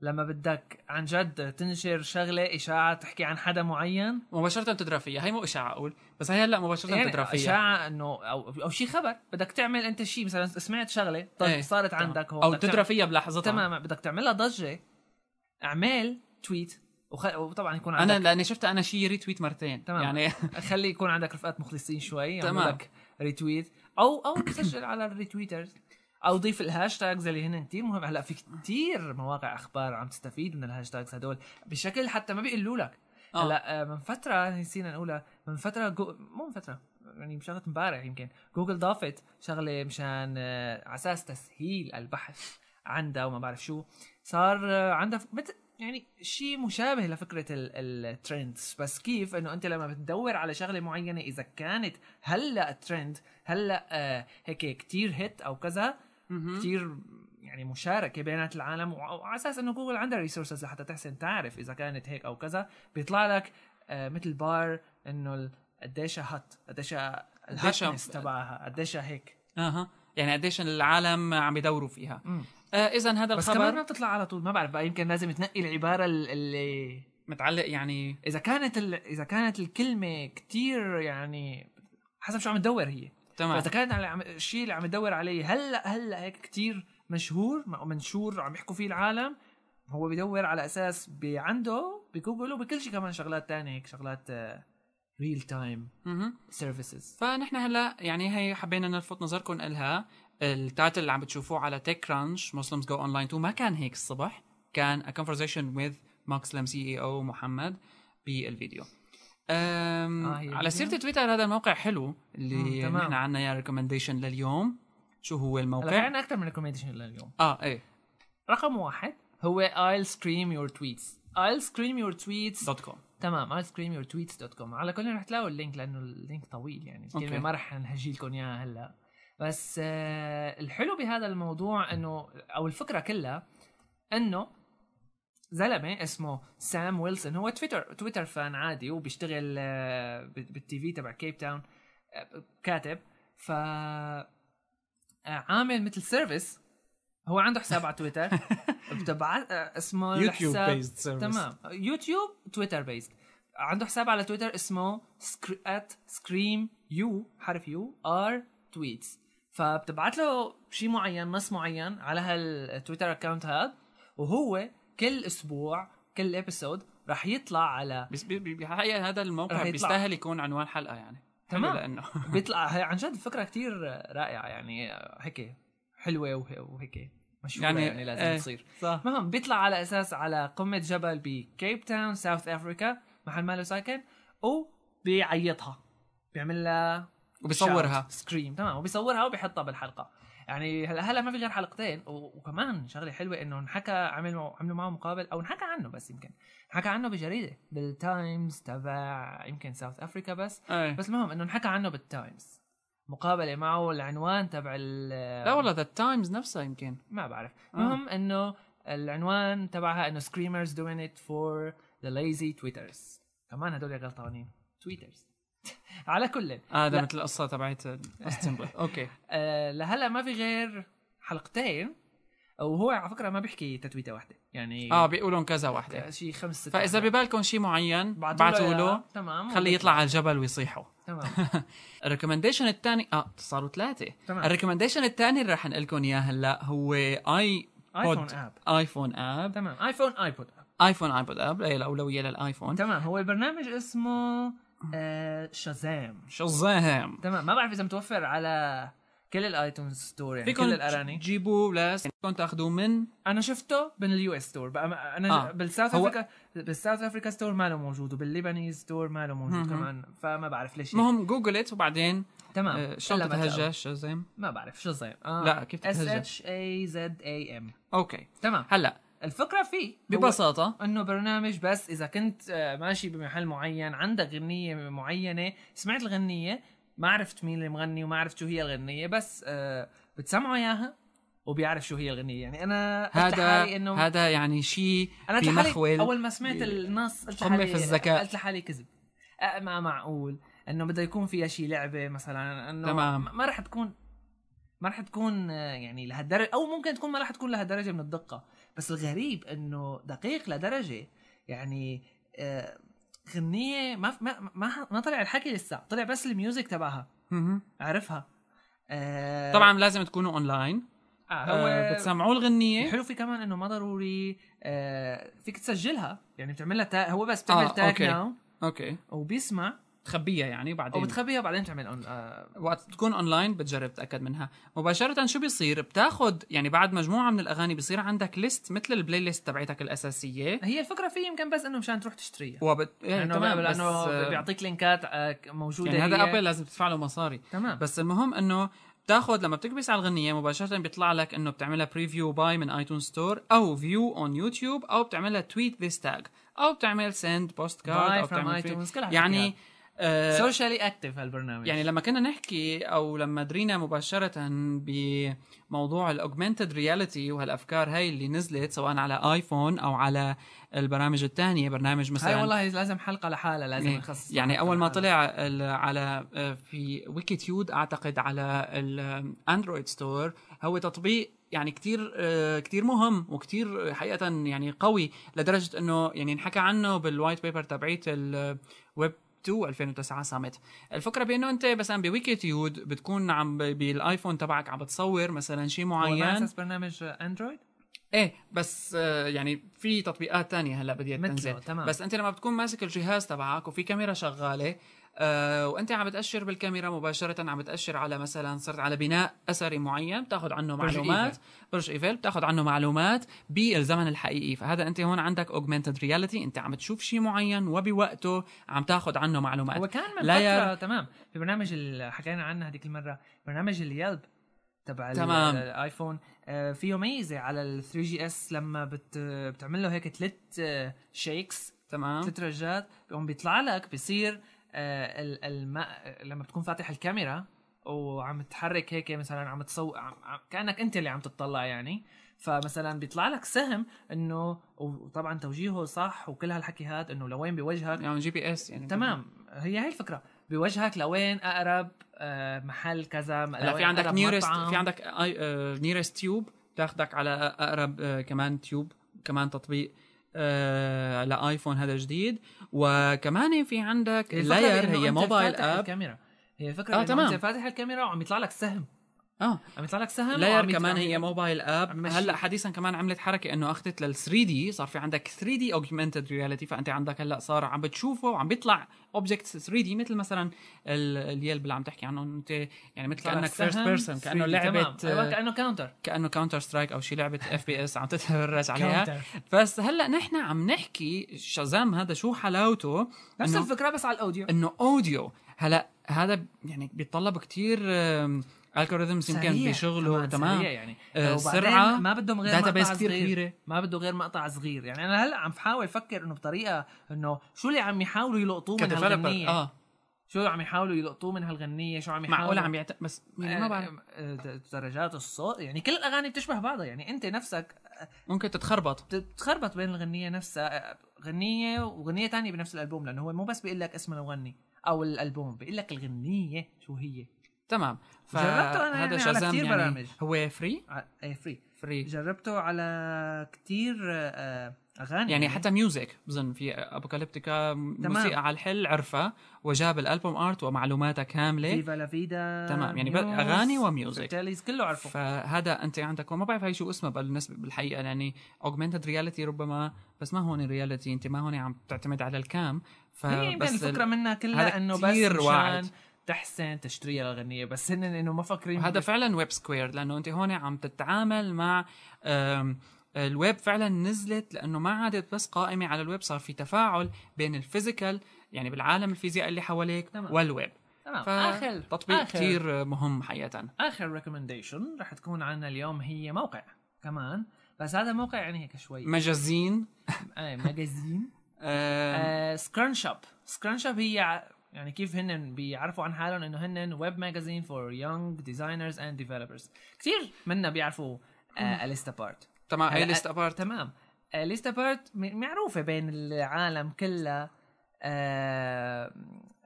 لما بدك عن جد تنشر شغله اشاعه تحكي عن حدا معين مباشره تدرى فيها هي مو اشاعه اقول بس هي هلا مباشره تدرى يعني فيها اشاعه انه او او شيء خبر بدك تعمل انت شيء مثلا سمعت شغله طيب إيه، صارت تمام. عندك هون او بدك تدرى تعمل- فيها بلحظتها تماما بدك تعملها ضجه اعمل تويت وخ... وطبعا يكون عندك انا لاني شفت انا شي ريتويت مرتين تمام. يعني خلي يكون عندك رفقات مخلصين شوي يعملوا تمام. لك ريتويت او او سجل على الريتويترز او ضيف الهاشتاجز اللي هن كثير مهم هلا في كثير مواقع اخبار عم تستفيد من الهاشتاجز هدول بشكل حتى ما بيقولوا لك آه. هلا آه، من فتره نسينا نقولها من فتره جو... مو من فتره يعني بشغله امبارح يمكن جوجل ضافت شغله مشان آه، على اساس تسهيل البحث عندها وما بعرف شو صار آه، عندها ف- مثل يعني شيء مشابه لفكره الترندز بس كيف انه انت لما بتدور على شغله معينه اذا كانت هلا ترند هلا آه، هيك كتير هيت او كذا مهم. كتير يعني مشاركه بينات العالم وع- وعلى اساس انه جوجل عندها ريسورسز لحتى تحسن تعرف اذا كانت هيك او كذا بيطلع لك آه، مثل بار انه ال- قديش هات قديش قديش- الهاتنس تبعها قديش هيك اها يعني قديش العالم عم بيدوروا فيها آه اذا هذا بس كمان الخبر ما بتطلع على طول ما بعرف بقى يمكن لازم تنقي العباره ال- اللي متعلق يعني اذا كانت ال... اذا كانت الكلمه كتير يعني حسب شو عم تدور هي تمام فاذا كان على عم... الشيء اللي عم تدور عليه هلا هلا هيك كتير مشهور م- منشور عم يحكوا فيه العالم هو بدور على اساس بعنده بجوجل وبكل شيء كمان شغلات تانية هيك شغلات آه، ريل تايم مهم. سيرفيسز فنحن هلا يعني هي حبينا نلفت نظركم إلها التايتل اللي عم بتشوفوه على تيك كرانش مسلمز جو اونلاين 2 ما كان هيك الصبح كان a conversation with مسلم سي اي او E محمد بالفيديو أم آه، هي على الفيديو؟ سيرة تويتر هذا الموقع حلو مم، اللي تمام. نحن عنا يا ريكومنديشن لليوم شو هو هلا في الموقع؟ عنا اكثر من ريكومنديشن لليوم اه ايه رقم واحد هو I'll scream your tweets I'll scream your tweets دوت كوم تمام icecreamyourtweets.com على كل رح تلاقوا اللينك لانه اللينك طويل يعني الكلمه أوكي. ما رح نهجي لكم اياها هلا بس آه الحلو بهذا الموضوع انه او الفكره كلها انه زلمه اسمه سام ويلسون هو تويتر تويتر فان عادي وبيشتغل آه بالتي في تبع كيب تاون آه كاتب ف آه، عامل مثل سيرفيس هو عنده حساب على تويتر بتبعت آه، اسمه يوتيوب الحساب- based service. تمام يوتيوب تويتر بيست عنده حساب على تويتر اسمه ات سكريم يو حرف يو ار تويتس فبتبعت له شيء معين نص معين على هالتويتر اكونت هاد وهو كل اسبوع كل ابيسود رح يطلع على بس بي- بي- بحقيقة هذا رح الموقع يطلع. بيستاهل يكون عنوان حلقة يعني حلو تمام. لانه بيطلع هي عن جد فكره كتير رائعه يعني هيك حلوه وه- وهيك مشهوره يعني, يعني- يعني لازم إيه. تصير صح المهم بيطلع على اساس على قمه جبل بكيب تاون ساوث افريكا محل ما له ساكن وبيعيطها بيعمل لها وبصورها سكريم تمام وبيصورها وبيحطها بالحلقه يعني هلا هلا ما في غير حلقتين و- وكمان شغله حلوه انه انحكى عملوا عملوا معه مقابل او انحكى عنه بس يمكن انحكى عنه بجريده بالتايمز تبع يمكن ساوث افريكا بس ايه بس المهم انه انحكى عنه بالتايمز مقابله معه العنوان تبع ال- لا والله ذا تايمز نفسها يمكن ما بعرف آه. المهم انه العنوان تبعها انه screamers doing it for the lazy tweeters كمان هدول غلطانين tweeters على كل اه هذا لا. مثل القصه تبعت استنبول اوكي آه لهلا ما في غير حلقتين وهو على فكره ما بيحكي تتويته واحده يعني اه بيقولون كذا وحده شيء خمس ست فاذا ببالكم شيء معين بعتوا بعتوا له إياها. تمام خليه يطلع على الجبل ويصيحوا تمام الريكومنديشن الثاني اه صاروا ثلاثه تمام. الريكومنديشن الثاني اللي رح نقلكم اياه هلا هو اي ايفون اب ايفون اب تمام ايفون ايبود اب ايفون ايبود اب هي الاولويه للايفون تمام هو البرنامج اسمه آه شازام شظام تمام ما بعرف اذا متوفر على كل الايتونز ستور يعني كل فيكم الاراني تجيبوه لس فيكم تاخذوه من انا شفته من اليو اس ستور بقى ما- انا آه. آه. بالساوث هو- افريكا بالساوث افريكا ستور ما له موجود وبالليبانيز ستور ما له موجود مهم. كمان فما بعرف ليش هيك. المهم جوجلت وبعدين تمام آه، شلون إلا ما تتهجى تلاقوا. شظام ما بعرف شو صاير آه. لا، كيف اس تتهجى؟ اتش اي زد اي ام اوكي تمام هلا الفكره فيه هو ببساطه انه برنامج بس اذا كنت آه، ماشي بمحل معين عندك غنيه معينه سمعت الغنيه ما عرفت مين اللي مغني وما عرفت شو هي الغنيه بس آه، بتسمعوا اياها وبيعرف شو هي الغنيه يعني انا قلت هذا لحالي انه هذا يعني شيء انا في قلت لحالي مخول اول ما سمعت النص قلت قمة لحالي في الذكاء. قلت لحالي كذب أه، ما معقول انه بده يكون فيها شي لعبه مثلا انه تمام. ما- ما راح تكون ما راح تكون آه، يعني لهالدرجه او ممكن تكون ما راح تكون لهالدرجه من الدقه بس الغريب انه دقيق لدرجه يعني آه، غنيه ما ما ما, ما طلع الحكي لسه طلع بس الميوزك تبعها مهم. عرفها آه، طبعا لازم تكونوا اونلاين آه آه، هو بتسمعوا الغنيه الحلو فيه كمان انه ما ضروري آه فيك تسجلها يعني بتعملها تا... هو بس بتعمل آه، آه تاج أوكي. ناو اوكي وبيسمع تخبيها يعني او بعدين بتخبيها وبعدين تعمل اون آه وقت تكون اونلاين بتجرب تتاكد منها مباشره شو بيصير بتاخد يعني بعد مجموعه من الاغاني بيصير عندك ليست مثل البلاي ليست تبعتك الاساسيه هي الفكره فيه يمكن بس انه مشان تروح تشتريها وبت... يعني لانه تمام بس لانه آه، بيعطيك لينكات آه ك- موجوده يعني هذا هي. ابل لازم تدفع له مصاري تمام بس بس المهم انه بتاخذ لما بتكبس على الغنيه مباشره بيطلع لك انه بتعملها بريفيو باي من ايتون ستور او فيو اون يوتيوب او بتعملها تويت ذيس تاج او بتعمل سند بوست كارد باي او فروم بتعمل ايتونز tweet. كلها يعني آه، سوشيالي اكتف هالبرنامج يعني لما كنا نحكي او لما درينا مباشره بموضوع الاوجمانتد رياليتي وهالافكار هاي اللي نزلت سواء على ايفون او على البرامج الثانيه برنامج مثلا هاي والله لازم حلقه لحالها لازم إيه، نخصص يعني حلقة اول ما لحالها. طلع ال- على آه، في ويكي تيود اعتقد على الاندرويد ستور هو تطبيق يعني كتير آه، كتير مهم وكتير حقيقة يعني قوي لدرجة انه يعني انحكى عنه بالوايت بيبر تبعيت الويب 2 2009 سامت الفكرة بانه انت مثلا بويكي تيود بتكون عم ب- بالايفون تبعك عم بتصور مثلا شيء هو ما معين أساس برنامج آه، اندرويد ايه بس آه، يعني في تطبيقات تانية هلا بديت مثله، تنزل تمام. بس انت لما بتكون ماسك الجهاز تبعك وفي كاميرا شغاله آه وانت عم بتاشر بالكاميرا مباشره عم بتاشر على مثلا صرت على بناء اثري معين بتاخذ عنه برج معلومات برج ايفل بتاخذ عنه معلومات بالزمن الحقيقي فهذا انت هون عندك اوجمانتد رياليتي انت عم تشوف شيء معين وبوقته عم تاخذ عنه معلومات هو كان من لا فتره يا- تمام في برنامج اللي حكينا عنه هذيك المره برنامج اليلب تبع ال- تمام. الايفون آه، فيه ميزه على ال 3 جي اس لما بت بتعمل له هيك ثلاث شيكس تمام ثلاث رجات بيقوم بيطلع لك بيصير آه، ال- الماء لما بتكون فاتح الكاميرا وعم تحرك هيك مثلا عم تصو عم... عم... كانك انت اللي عم تطلع يعني فمثلا بيطلع لك سهم انه وطبعا توجيهه صح وكل هالحكي هاد انه لوين بيوجهك يعني جي بي اس يعني تمام هي هي الفكره بوجهك لوين اقرب آه، محل كذا هلا في لوين عندك أقرب نيرست مطعم. في عندك آه، نيرست تيوب بتاخدك على اقرب آه، كمان تيوب كمان تطبيق آه لايفون هذا جديد وكمان في عندك الفكرة لاير بإنه هي أنت موبايل فاتح اب الكاميرا هي الفكره آه، آه تمام. تمام انت فاتح الكاميرا وعم يطلع لك سهم اه عم يطلع لك سهم لاير وعم يط- كمان عم- هي موبايل اب عم يمشي. هلا حديثا كمان عملت حركه انه اخذت لل 3 دي صار في عندك 3 دي اوجمانتد رياليتي فانت عندك هلا صار عم بتشوفه وعم بيطلع اوبجكتس 3 دي مثل مثلا ال- اليلب اللي عم تحكي عنه انت يعني مثل يطلع لك كانك فيرست سهم بيرسون 3D كانه لعبه تمام. آه، أيوة، كانه كاونتر كانه كاونتر سترايك او شي لعبه اف بي اس عم تتفرج عليها بس هلا نحن عم نحكي شازام هذا شو حلاوته نفس إنه- الفكره بس على الاوديو انه اوديو هلا هذا يعني بيتطلب كتير الجوريثمز يمكن سريع. بشغله سريع تمام يعني آه، وبعدين سرعة، ما بدهم غير داتا مقطع بيس كثير صغير. كبيره ما بده غير مقطع صغير يعني انا هلا عم بحاول افكر انه بطريقه انه شو اللي عم يحاولوا يلقطوه من كديفلوبر هالغنيه اه شو عم يحاولوا يلقطوه من هالغنيه شو عم يحاولوا معقول عم يعت... بس يعني ما بعرف آه، آه، درجات الصوت يعني كل الاغاني بتشبه بعضها يعني انت نفسك ممكن تتخربط بتتخربط بين الغنيه نفسها آه، غنيه وغنيه تانية بنفس الالبوم لانه هو مو بس بيقول لك اسم المغني او الالبوم بيقول لك الغنيه شو هي تمام جربته أنا فهذا يعني على شازام كتير يعني برامج. هو فري ايه فري فري جربته على كتير آه، اغاني يعني حتى ميوزك بظن في ابوكاليبتيكا موسيقى على الحل عرفها وجاب الالبوم ارت ومعلوماتها كامله فيفا لا فيدا تمام، يعني آه، بقى أغاني وميوزك. فيرتاليز كله عرفه فهذا انت عندك وما بعرف هي شو اسمها بالنسبه بالحقيقه يعني اوجمانتد رياليتي ربما بس ما هون رياليتي انت ما هون عم تعتمد على الكام هي يمكن فبس الفكره ال- منها هذا كلها انه بس كتير واعد. مشان تحسن تشتريها الغنيه بس هن انه ما فاكرين هذا هذا فعلا ويب سكوير لانه انت هون عم تتعامل مع أم، الويب فعلا نزلت لانه ما عادت بس قائمه على الويب صار في تفاعل بين الفيزيكال يعني بالعالم الفيزياء اللي حواليك تمام. والويب تمام اخر فتطبيق آخر. كثير مهم حقيقه اخر ريكومنديشن رح تكون عنا اليوم هي موقع كمان بس هذا موقع يعني هيك شوي مجازين آه، ماجازين أم، آه، سكران شوب سكران شوب هي ع- يعني كيف هن بيعرفوا عن حالهم انه هن ويب ماجازين فور يونج ديزاينرز اند ديفلوبرز كثير منا بيعرفوا آه، اليستا بارت تمام هلا- اي ليست ابارت تمام آه، ليستا بارت م- معروفه بين العالم كلها آه،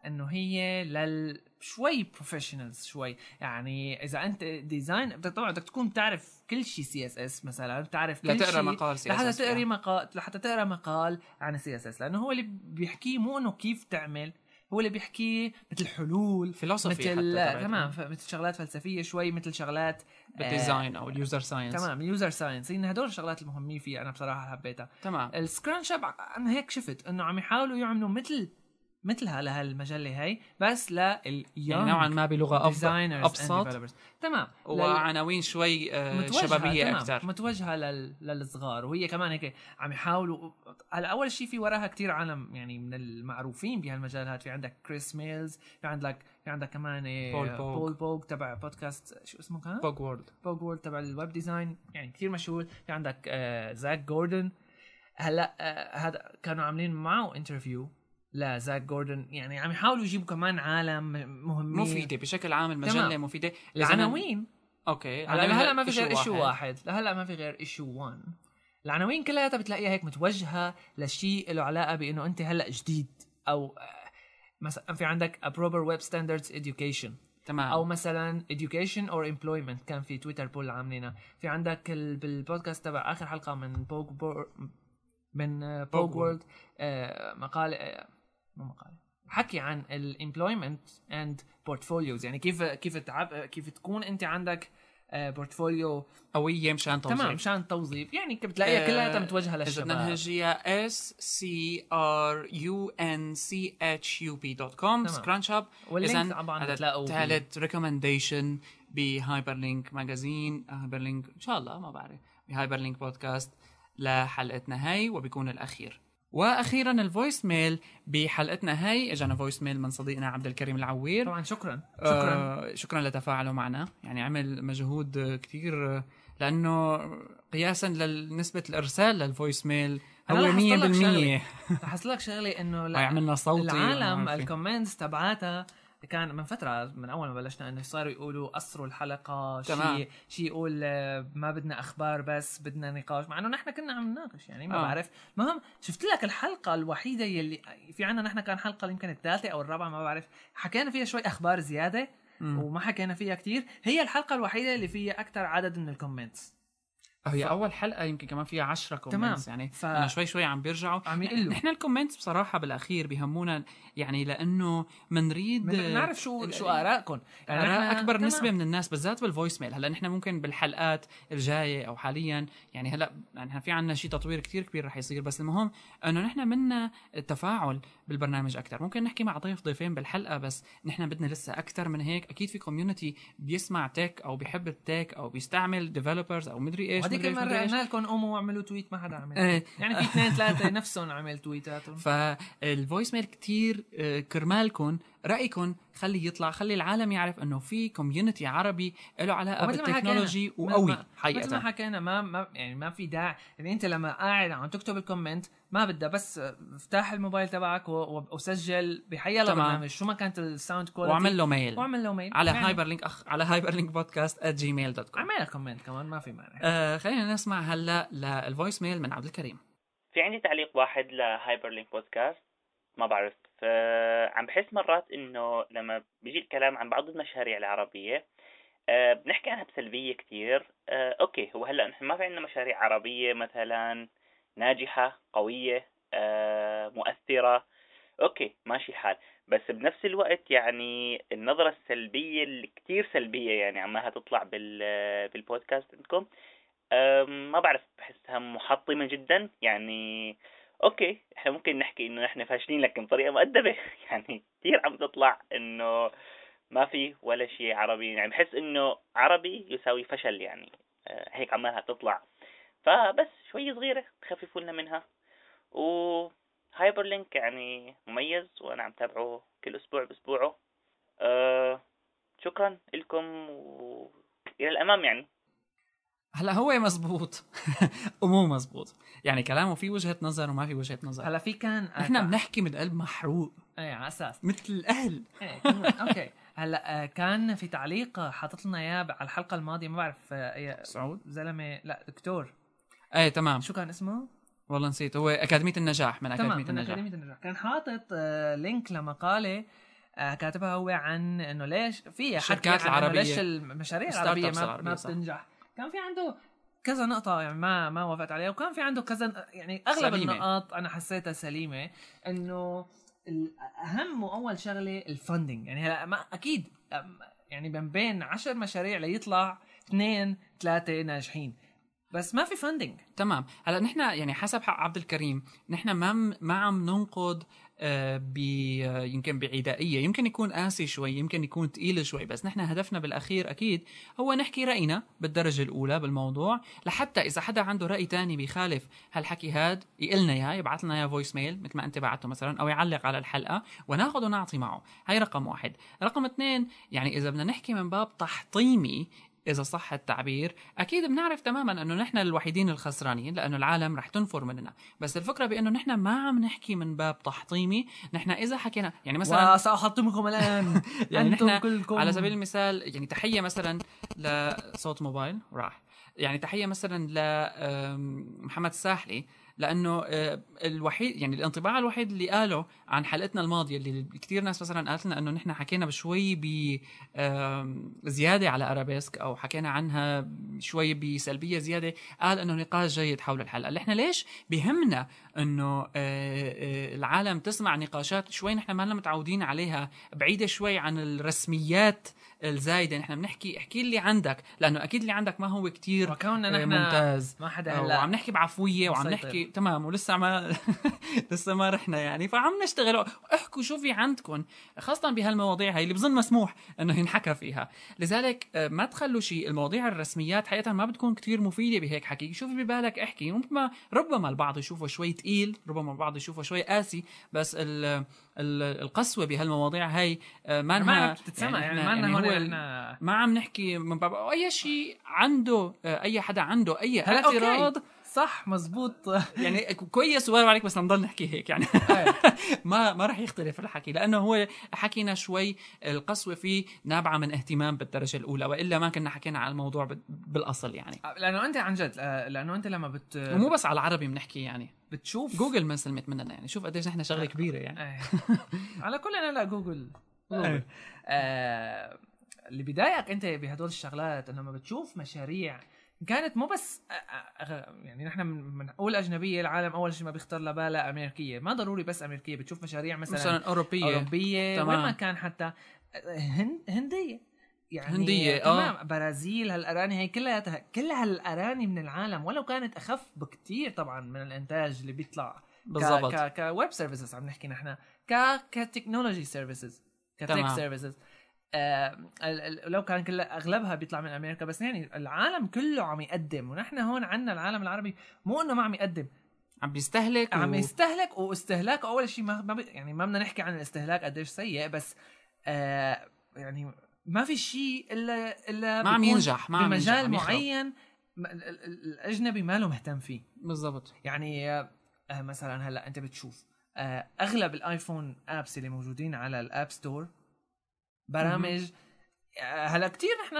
انه هي لل شوي بروفيشنالز شوي يعني اذا انت ديزاين بدك طبعا بدك تكون تعرف كل شيء سي اس اس مثلا بتعرف كل لتقرا شي- مقال CSS لحتى فيها. تقري مقال لحتى تقرا مقال عن السي اس اس لانه هو اللي بيحكيه مو انه كيف تعمل هو اللي بيحكيه مثل حلول فيلوسفي مثل حتى تبعت- تمام ف- مثل شغلات فلسفيه شوي مثل شغلات آه، بالديزاين او اليوزر ساينس تمام يوزر ساينس هن هدول الشغلات المهمين فيه انا بصراحه حبيتها تمام السكران شاب انا هيك شفت انه عم يحاولوا يعملوا مثل مثلها لهالمجله هي بس لل يعني نوعا ما بلغه افضل ديزاينرز ابسط تمام لل- وعناوين شوي آه، متوجهة، شبابيه تمام، اكثر متوجهه لل... للصغار وهي كمان هيك عم يحاولوا على اول شيء في وراها كتير عالم يعني من المعروفين بهالمجال هاد في عندك كريس ميلز في عندك في عندك كمان إيه، بول بوغ. بول بوغ تبع بودكاست شو اسمه كان؟ بوج وورد بوج وورد تبع الويب ديزاين يعني كثير مشهور في عندك آه زاك جوردن هلا آه هذا كانوا عاملين معه انترفيو لزاك جوردن يعني عم يحاولوا يجيبوا كمان عالم مهمين مفيده بشكل عام المجله تمام. مفيده لزمن- العناوين اوكي هلا عناوين لهلا ما في غير issue ايشو واحد لهلا ما في غير ايشو 1 العناوين كلها بتلاقيها هيك متوجهه لشيء له علاقه بانه انت هلا جديد او آه، مثلا في عندك a proper web standards education تمام او مثلا education or employment كان في تويتر بول عاملينها في عندك ال... بالبودكاست تبع اخر حلقه من بوك بور من آه، بوك بوك وورلد آه، مقال آه، مو مقال حكي عن الامبلويمنت اند بورتفوليوز يعني كيف كيف تعب كيف تكون انت عندك بورتفوليو قويه مشان توصيل تمام مشان توظيف يعني آه، بتلاقيها كلها متوجهه اذا للشباب بدنا نهجيها s c r u n c h u p دوت كوم سكران شوب واللينك طبعاً بتلاقوه بال- ثالث ريكومنديشن بهايبر لينك ماجازين هايبر لينك ان شاء الله ما بعرف بهايبر لينك بودكاست لحلقتنا هاي وبيكون الاخير واخيرا الفويس ميل بحلقتنا هاي اجانا فويس ميل من صديقنا عبد الكريم العوير طبعا شكرا شكرا شكرا شكرا لتفاعله معنا يعني عمل مجهود كثير لانه قياسا لنسبه الارسال للفويس ميل أنا هو لاحظت 100% لك شغلة. هاي رح أصل لك شغله انه لا- عملنا صوتي العالم وما في. الكومنتس تبعاتها كان من فترة من أول ما بلشنا إنه صاروا يقولوا قصروا الحلقة تمام. شيء شيء يقول آه، ما بدنا أخبار بس بدنا نقاش مع إنه نحن كنا عم نناقش يعني ما آه. آه. بعرف المهم شفت لك الحلقة الوحيدة يلي في عنا نحن كان حلقة يمكن الثالثة أو الرابعة ما بعرف حكينا فيها شوي أخبار زيادة مم. وما حكينا فيها كتير هي الحلقة الوحيدة اللي فيها أكثر عدد من الكومنتس هي اول حلقه يمكن كمان فيها 10 كومنتس يعني ف- انا شوي شوي عم بيرجعوا عم يقلوا. نحن الكومنتس بصراحه بالاخير بهمونا يعني لانه منريد من- نعرف شو ال- شو آرائكم يعني نحن- اكبر تمام. نسبه من الناس بالذات بالفويس ميل هلا نحن ممكن بالحلقات الجايه او حاليا يعني هلا نحن في عنا شيء تطوير كتير كبير رح يصير بس المهم انه نحن منا التفاعل بالبرنامج اكثر ممكن نحكي مع ضيف ضيفين بالحلقه بس نحن بدنا لسه اكثر من هيك اكيد في كوميونتي بيسمع تك او بيحب التك او بيستعمل ديفلوبرز او مدري ايش وهذيك مدري إيش، مدري المره إيش. قلنا لكم قوموا واعملوا تويت ما حدا عمل إيه. يعني في اثنين ثلاثه نفسهم عمل تويتاتهم فالفويس ميل كتير آه، كرمالكن رايكم خلي يطلع خلي العالم يعرف انه في كوميونتي عربي له علاقه ومثل ما حكينا، بالتكنولوجي ما- وقوي ما- مثل ما حقيقه حكينا ما ما يعني ما في داعي يعني انت لما قاعد عم تكتب الكومنت ما بدها بس افتح الموبايل تبعك و- و- وسجل بحيلا تمام. برنامج شو ما كانت الساوند كواليتي واعمل له ميل واعمل له ميل على يعني هايبر لينك اخ على هايبر لينك بودكاست @جيميل دوت كوم اعمل لها كومنت كمان ما في أه. مانع آه، خلينا نسمع هلا للفويس ميل من عبد الكريم في عندي تعليق واحد لهايبر لينك بودكاست ما بعرف آه، عم بحس مرات انه لما بيجي الكلام عن بعض المشاريع العربية آه، بنحكي عنها بسلبية كتير آه، اوكي هو هلا نحن ما في عندنا مشاريع عربية مثلا ناجحة قوية آه، مؤثرة اوكي ماشي الحال بس بنفس الوقت يعني النظرة السلبية اللي كتير سلبية يعني عمالها تطلع بال آه، بالبودكاست عندكم أم، ما بعرف بحسها محطمة جدا يعني اوكي احنا ممكن نحكي انه احنا فاشلين لكن بطريقة مؤدبة يعني كثير عم تطلع انه ما في ولا شيء عربي يعني بحس انه عربي يساوي فشل يعني أه، هيك عمالها تطلع فبس شوي صغيرة تخففوا لنا منها و هايبر لينك يعني مميز وانا عم تابعه كل اسبوع باسبوعه أه شكرا لكم والى الامام يعني هلا هو مزبوط ومو مزبوط يعني كلامه في وجهه نظر وما في وجهه نظر هلا في كان نحن بنحكي من قلب محروق ايه على اساس مثل الاهل إيه، كنا- اوكي هلا آه، كان في تعليق حاطط لنا اياه على الحلقه الماضيه ما بعرف آه، أي سعود زلمه لا دكتور ايه تمام شو كان اسمه؟ والله نسيت هو اكاديميه النجاح من تمام اكاديميه من النجاح أكاديمية النجاح كان حاطط آه، لينك لمقالة آه، كاتبها هو عن انه ليش في حكي الشركات عن إنه العربية. ليش المشاريع ال startups العربية ما, العربية، ما صح. بتنجح كان في عنده كذا نقطة يعني ما ما وافقت عليها وكان في عنده كذا يعني اغلب سليمة. النقاط انا حسيتها سليمة انه ال- اهم واول شغلة الفندنج يعني هلا ما اكيد أم- يعني من بين عشر مشاريع ليطلع اثنين ثلاثة ناجحين بس ما في فندنج تمام هلا نحن يعني حسب حق عبد الكريم نحن ما م- ما عم ننقد آه، ب آه، يمكن بعدائيه يمكن يكون قاسي شوي يمكن يكون ثقيل شوي بس نحن هدفنا بالاخير اكيد هو نحكي راينا بالدرجه الاولى بالموضوع لحتى اذا حدا عنده راي تاني بيخالف هالحكي هاد يقلنا اياه يبعث لنا اياه فويس ميل مثل ما انت بعته مثلا او يعلق على الحلقه وناخذ ونعطي معه هاي رقم واحد رقم اثنين يعني اذا بدنا نحكي من باب تحطيمي اذا صح التعبير اكيد بنعرف تماما انه نحن الوحيدين الخسرانين لانه العالم رح تنفر مننا بس الفكره بانه نحن ما عم نحكي من باب تحطيمي نحن اذا حكينا يعني مثلا وسأحطمكم الآن يعني أنتم نحن كلكم على سبيل المثال يعني تحيه مثلا لصوت موبايل راح يعني تحيه مثلا لمحمد الساحلي لانه آه، الوحيد يعني الانطباع الوحيد اللي قاله عن حلقتنا الماضيه اللي كثير ناس مثلا قالت لنا انه نحن حكينا بشوي ب آم، زياده على ارابيسك او حكينا عنها شوي بسلبيه زياده قال انه نقاش جيد حول الحلقه اللي احنا ليش بهمنا انه آه، آه، العالم تسمع نقاشات شوي نحن ما لنا متعودين عليها بعيده شوي عن الرسميات الزايده نحن بنحكي احكي اللي عندك لانه اكيد اللي عندك ما هو كتير وكوننا آه، نحن ممتاز ما حدا وعم هلا نحكي بعفويه وعم مسيطر. نحكي تمام ولسه ما لسه ما رحنا يعني فعم نشتغل احكوا شو في عندكم خاصه بهالمواضيع هاي اللي بظن مسموح انه ينحكى فيها لذلك آه، ما تخلوا شيء المواضيع الرسميات حقيقه ما بتكون كتير مفيده بهيك حكي شوف ببالك احكي ربما ربما البعض يشوفه شوي تقيل ربما البعض يشوفه شوي قاسي بس ال ال القسوه بهالمواضيع هاي آه، ما ما لها- بتتسمع يعني, نحن- ما لنا هون هو احنا ما عم نحكي من باب أو اي شيء عنده آه، اي حدا عنده اي هلا أوكي. اعتراض صح مزبوط إيه. يعني ك- كويس وارد عليك بس نضل نحكي هيك يعني ما ما رح يختلف الحكي لانه هو حكينا شوي القسوه فيه نابعه من اهتمام بالدرجه الاولى والا ما كنا حكينا على الموضوع بال- بالاصل يعني لأنه أنت عن جد آه، لأنه أنت لما بت ومو بس على العربي بنحكي يعني بتشوف جوجل ما سلمت مننا يعني شوف قديش نحن شغله كبيره يعني إيه. على كل أنا لا جوجل جوجل إيه. آه، اللي بيضايقك أنت بهدول الشغلات إنه لما بتشوف مشاريع كانت مو بس آه، آه، يعني نحن من- بنقول اجنبيه العالم اول شيء ما بيخطر لبالها امريكيه ما ضروري بس امريكيه بتشوف مشاريع مثلا مثلا اوروبيه اوروبيه تمام. وين ما كان حتى هن- هنديه يعني هندية، آه. تمام برازيل هالاراني هي كلها كل هالاراني من العالم ولو كانت اخف بكتير طبعا من الانتاج اللي بيطلع بالضبط ك كويب سيرفيسز عم نحكي نحن ك كتكنولوجي سيرفيسز كتك تمام. سيرفيسز آه ال- ال- لو كان كل اغلبها بيطلع من امريكا بس يعني العالم كله عم يقدم ونحن هون عندنا العالم العربي مو انه ما عم يقدم عم بيستهلك عم و- يستهلك واستهلاكه اول شيء ما ما بي- يعني ما بدنا نحكي عن الاستهلاك قديش سيء بس آه يعني ما في شيء الا الا ما عم بيكون ينجح ما عم ينجح بمجال عم يخرب. معين ما- ال- ال- ال- الاجنبي ما له مهتم فيه بالضبط يعني آه، آه، مثلا هلا انت بتشوف آه، اغلب الايفون ابس اللي موجودين على الاب ستور برامج آه، هلا كتير نحن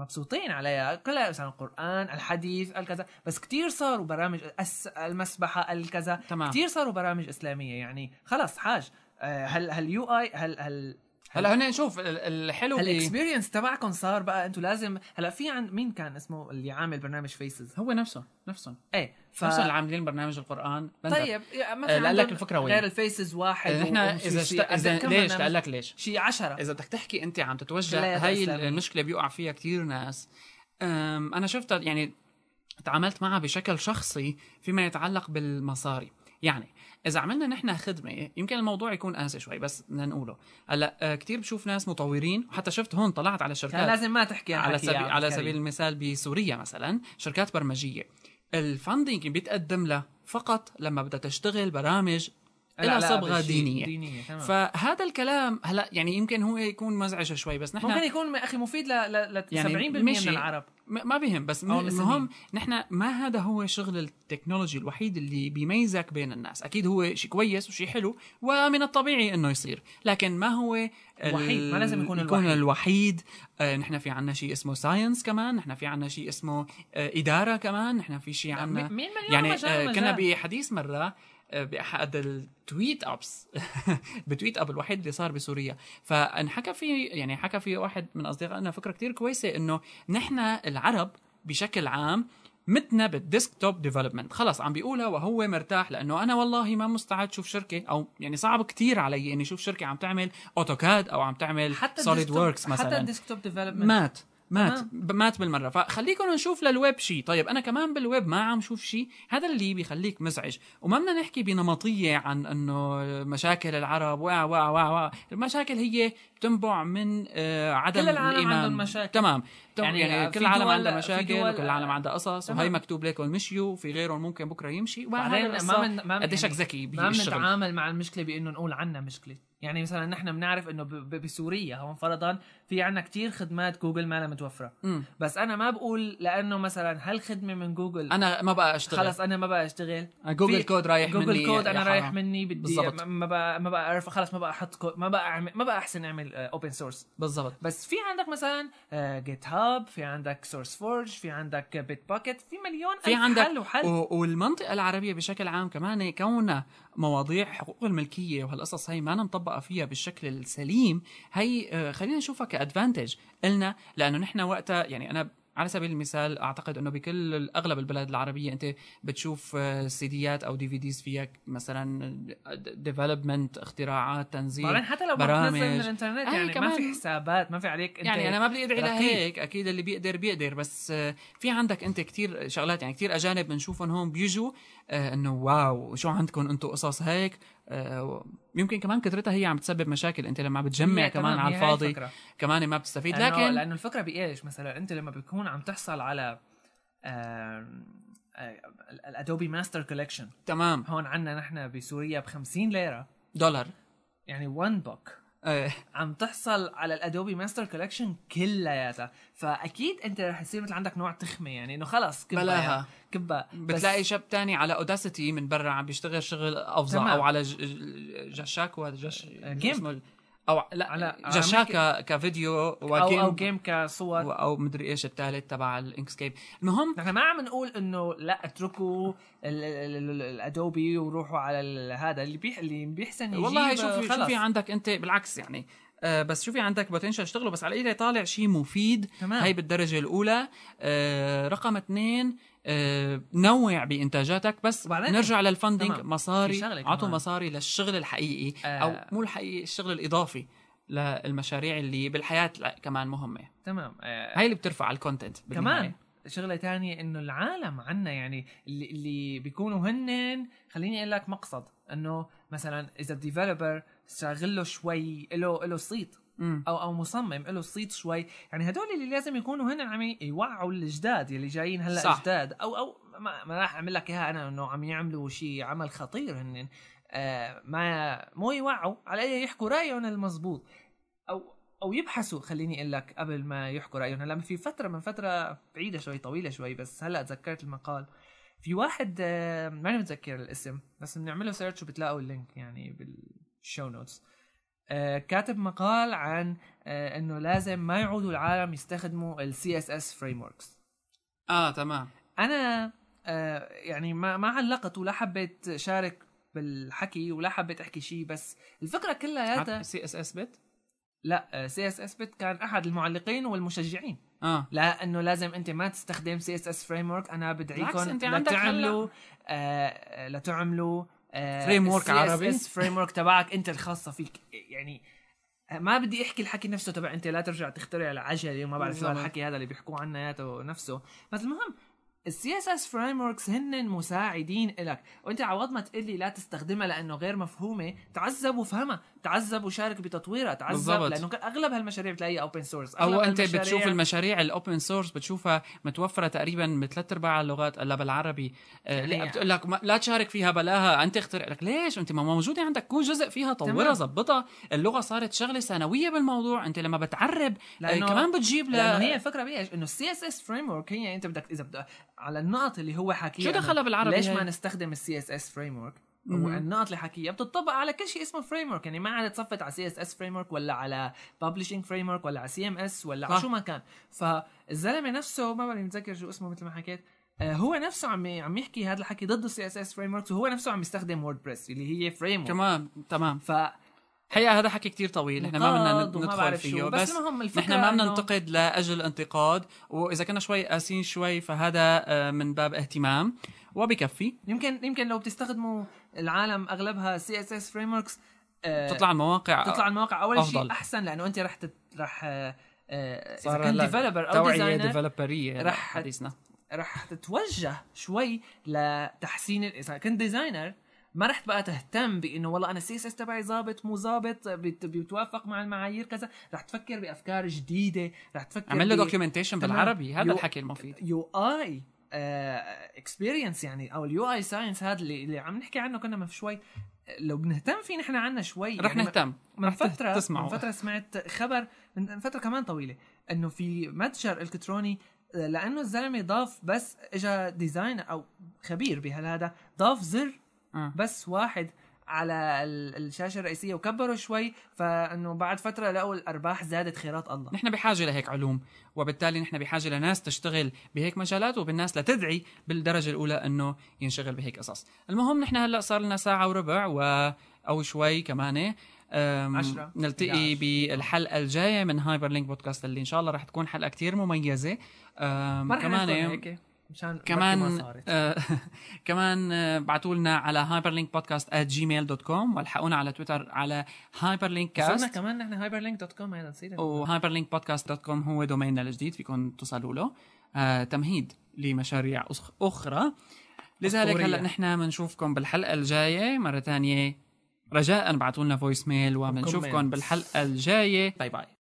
مبسوطين عليها كلها مثلا القران الحديث الكذا بس كتير صاروا برامج الس- المسبحه الكذا تمام كتير صاروا برامج اسلاميه يعني خلص حاج آه، هل هل يو اي هل هل هلا هن شوف ال- الحلو بي... الاكسبيرينس تبعكم صار بقى انتوا لازم هلا في عند مين كان اسمه اللي عامل برنامج فيسز هو نفسه نفسه ايه ف... نفسه اللي عاملين برنامج القران بندر. طيب يا- آه، مثلا لقال لك عندهم الفكره وين غير الفيسز واحد آه، نحن اذا شت... اذا ليش لقال لك ليش شيء 10 اذا بدك تحكي انت عم تتوجه كلياتها هاي إسلامية. المشكله بيقع فيها كتير ناس أم، انا شفتها يعني تعاملت معها بشكل شخصي فيما يتعلق بالمصاري يعني اذا عملنا نحن خدمه يمكن الموضوع يكون قاسي شوي بس بدنا نقوله هلا آه، كتير بشوف ناس مطورين وحتى شفت هون طلعت على كان شركات لازم ما تحكي عن على حكي يا سبيل عبد على الكريم. سبيل المثال بسوريا مثلا شركات برمجيه الفندنج بيتقدم لها فقط لما بدها تشتغل برامج لا، لا، لها صبغه بشيء دينيه دينيه تمام. فهذا الكلام هلا يعني يمكن هو يكون مزعج شوي بس نحن ممكن يكون م- اخي مفيد ل ل- ل يعني 70% مشي. من العرب م- ما بهم بس أو م- المهم نحن ما هذا هو شغل التكنولوجي الوحيد اللي بيميزك بين الناس اكيد هو شيء كويس وشيء حلو ومن الطبيعي انه يصير لكن ما هو ال- الوحيد، ما لازم يكون يكون الوحيد. الوحيد آه نحن في عنا شيء اسمه ساينس كمان نحن في عنا شيء اسمه آه اداره كمان نحن في شيء م- عنا مين مليون يعني مجال آه، مجال. كنا بحديث مره آه، باحد التويت ابس بتويت اب الوحيد اللي صار بسوريا فانحكى في يعني حكى في واحد من اصدقائنا فكره كتير كويسه انه نحن العرب بشكل عام متنا بالديسكتوب ديفلوبمنت خلص عم بيقولها وهو مرتاح لانه انا والله ما مستعد شوف شركه او يعني صعب كتير علي اني اشوف شركه عم تعمل اوتوكاد او عم تعمل حتى سوليد الديسكتوب- وركس مثلا حتى الديسكتوب ديفلوبمنت مات مات ب- مات بالمره فخليكم نشوف للويب شيء طيب انا كمان بالويب ما عم شوف شيء هذا اللي بيخليك مزعج وما بدنا نحكي بنمطيه عن انه مشاكل العرب وا وا وا وا المشاكل هي بتنبع من آه، عدم كل العالم الإيمان. عندهم مشاكل. تمام يعني, يعني يعني في كل العالم دول- عندها في مشاكل دول- وكل العالم عندها قصص تمام. وهي مكتوب لكم مشيوا وفي غيرهم ممكن بكره يمشي بعدين وهذا ما من- ما من- قديشك يعني ذكي ما بالشغل بنتعامل مع المشكله بانه نقول عنا مشكله يعني مثلا نحن بنعرف انه ب- ب- بسوريا هون فرضا في عنا كتير خدمات جوجل ما لها متوفره مم. بس انا ما بقول لانه مثلا هالخدمه من جوجل انا ما بقى اشتغل خلص انا ما بقى اشتغل جوجل في- كود رايح مني جوجل كود يا انا حرام. رايح مني بدي بالضبط. ما- ما بقى ما بقى اعرف خلص ما بقى احط كود ما بقى اعمل ما بقى احسن اعمل اوبن سورس بالضبط بس في عندك مثلا جيت هاب في عندك سورس فورج في عندك بيت باكيت في مليون في ألف عندك حل وحل و- والمنطقة العربية بشكل عام كمان كونها مواضيع حقوق الملكية وهالقصص هي ما مطبقة فيها بالشكل السليم هي آه، خلينا نشوفها كأدفانتج إلنا لأنه نحن وقتها يعني أنا على سبيل المثال اعتقد انه بكل اغلب البلاد العربيه انت بتشوف آه، سيديات او دي في ديز فيها مثلا ديفلوبمنت اختراعات بعدين تنزيل حتى لو برامج. برامج من الانترنت أي يعني ما كمان. في حسابات ما في عليك انت يعني انا ما بدي ادعي رقيق. لهيك اكيد اللي بيقدر بيقدر بس آه، في عندك انت كتير شغلات يعني كتير اجانب بنشوفهم هون بيجوا آه، انه واو شو عندكم انتم قصص هيك آه، يمكن كمان كثرتها هي عم تسبب مشاكل انت لما بتجمع هي كمان على هي هاي الفاضي الفكرة. كمان ما بتستفيد لأنه- لكن لانه الفكره بايش مثلا انت لما بتكون عم تحصل على آم، آه، الادوبي ماستر كولكشن تمام هون عندنا نحن بسوريا ب 50 ليره دولار يعني 1 بوك آه، عم تحصل على الادوبي ماستر كولكشن كلياتها فاكيد انت رح يصير مثل عندك نوع تخمه يعني انه خلص كبها بلاها. كبها بتلاقي شاب تاني على اوداسيتي من برا عم بيشتغل شغل افظع تمام. او على ج- ج- جشاكو هذا جش آه، شو اسمه ال- او لا على- على على جشاكا كفيديو او وجيم او جيم كصور او مدري ايش الثالث تبع الانكسكيب المهم نحن ما عم نقول انه لا اتركوا ال- ال- ال- ال- الادوبي وروحوا على ال- هذا اللي بيح اللي بيحسن يجيب آه، والله شوفي خلص. شوفي عندك انت بالعكس يعني آه، بس شوفي عندك بوتنشل اشتغله بس على الاقل طالع شيء مفيد تمام. هاي بالدرجه الاولى آه، رقم اثنين آه، نوع بانتاجاتك بس وبعدين- نرجع للفندنج تمام. في مصاري شغلة كمان. اعطوا مصاري للشغل الحقيقي آه. او مو الحقيقي الشغل الاضافي للمشاريع اللي بالحياه لا- كمان مهمه تمام آه هاي اللي بترفع الكونتنت كمان شغله تانية انه العالم عنا يعني اللي, اللي بيكونوا هن خليني اقول لك مقصد انه مثلا اذا الديفلوبر شاغل له شوي له له صيت او او مصمم له صيت شوي يعني هدول اللي لازم يكونوا هن عم يوعوا الجداد اللي جايين هلا صح. جداد او او ما, ما راح اعمل لك اياها انا انه عم يعملوا شيء عمل خطير هن آه ما مو يوعوا على اي يحكوا رايهم المزبوط او او يبحثوا خليني اقول لك قبل ما يحكوا رايهم هلا في فتره من فتره بعيده شوي طويله شوي بس هلا تذكرت المقال في واحد آه، ماني متذكر الاسم بس بنعمله سيرش وبتلاقوا اللينك يعني بالشو نوتس آه، كاتب مقال عن آه، انه لازم ما يعودوا العالم يستخدموا السي اس اس فريم وركس اه تمام انا آه، يعني ما ما علقت ولا حبيت شارك بالحكي ولا حبيت احكي شيء بس الفكره كلها سي اس اس بت لا آه، سي اس اس بت كان احد المعلقين والمشجعين اه لا انه لازم انت ما تستخدم سي اس اس فريم ورك انا بدعيكم بالعكس، أنت عندك لتعملوا آه لتعملوا آه، Framework عربي. فريم ورك تبعك انت الخاصه فيك يعني ما بدي احكي الحكي نفسه تبع انت لا ترجع تخترع العجله وما بعرف شو بالضبط. الحكي هذا اللي بيحكوه عنه ياته نفسه بس المهم السي اس اس فريم وركس هن مساعدين لك وانت عوض ما تقول لي لا تستخدمها لانه غير مفهومه تعذب وافهمها تعذب وشارك بتطويرها تعذب بالضبط. لانه اغلب هالمشاريع بتلاقيها اوبن سورس او انت بتشوف المشاريع الاوبن سورس بتشوفها متوفره تقريبا بثلاث ارباع اللغات الا بالعربي آه، لا يعني- بتقول لك ما- لا تشارك فيها بلاها انت اخترع لك ليش انت ما موجوده عندك كون جزء فيها طورها تمام. زبطها اللغه صارت شغله ثانويه بالموضوع انت لما بتعرب آه، لأنه- كمان بتجيب لانه ل هي الفكره بايش انه السي اس اس فريم ورك هي انت بدك اذا بدك على النقط اللي هو حكيها شو إنه دخلها بالعربي ليش هي؟ ما نستخدم السي اس اس فريم ورك مهم. والنقط اللي حكيها بتطبق على كل شيء اسمه فريم ورك يعني ما عاد تصفت على سي اس اس فريم ورك ولا على ببلشنج فريم ورك ولا على سي ام اس ولا على صح. شو ما كان فالزلمه نفسه ما بعرف متذكر شو اسمه مثل ما حكيت آه، هو نفسه عم عم يحكي هذا الحكي ضد السي اس اس فريم ورك وهو نفسه عم يستخدم ووردبريس اللي هي فريم ورك كمان تمام ف حقيقه هذا حكي كتير طويل احنا ما بدنا نقاض وما ندخل بعرف شو، فيه بس بس المهم الفكرة نحن ما إنه- بننتقد لاجل الانتقاد واذا كنا شوي قاسيين شوي فهذا آه، من باب اهتمام وبكفي يمكن يمكن لو بتستخدموا العالم اغلبها سي اس اس فريم وركس تطلع المواقع آه، تطلع المواقع اول شيء أفضل. احسن لانه انت رح تت... رح آه، آه، اذا صار كنت هلا ديفلوبر او توعيه ديزاينر ديفلوبريه رح- رح يعني. حديثنا رح تتوجه شوي لتحسين ال- اذا كنت ديزاينر ما رح تبقى تهتم بانه والله انا السي اس اس تبعي ظابط مو ظابط بت- بيتوافق مع المعايير كذا رح تفكر بافكار جديده رح تفكر عمل له ب- دوكيومنتيشن تمام. بالعربي هذا يو- الحكي المفيد يو اي اكسبيرينس آه، يعني او اليو اي ساينس هذا اللي, اللي عم نحكي عنه كنا من شوي لو بنهتم فيه نحن عنا شوي رح يعني نهتم من فتره تسمعوا. من فتره سمعت خبر من فتره كمان طويله انه في متجر الكتروني آه، لانه الزلمه ضاف بس اجى ديزاين او خبير بهالهذا ضاف زر آه. بس واحد على ال- الشاشه الرئيسيه وكبره شوي فانه بعد فتره لقوا الارباح زادت خيرات الله نحن بحاجه لهيك علوم وبالتالي نحن بحاجه لناس تشتغل بهيك مجالات وبالناس لتدعي بالدرجه الاولى انه ينشغل بهيك قصص المهم نحن هلا صار لنا ساعه وربع و او شوي كمان أم، عشرة. نلتقي إحدى عشر. بالحلقه الجايه من هايبر لينك بودكاست اللي ان شاء الله رح تكون حلقه كتير مميزه أم، ما رح كمان ناخذ هيك مشان بركي ما كمان صارت. آه كمان آه، بعتوا لنا على hyperlinkpodcast@gmail.com والحقونا على تويتر على صرنا hyperlinkcast كمان نحن هايبر لينك دوت كوم هذا نسيت وهايبرلينكبودكاست.com هو دوميننا الجديد فيكم توصلوا له آه تمهيد لمشاريع أخ- أخرى لذلك أسطورية. هلا نحن بنشوفكم بالحلقة الجاية مرة تانية رجاء ابعتوا لنا فويس ميل وبنشوفكم وكومنت. بالحلقة الجاية باي باي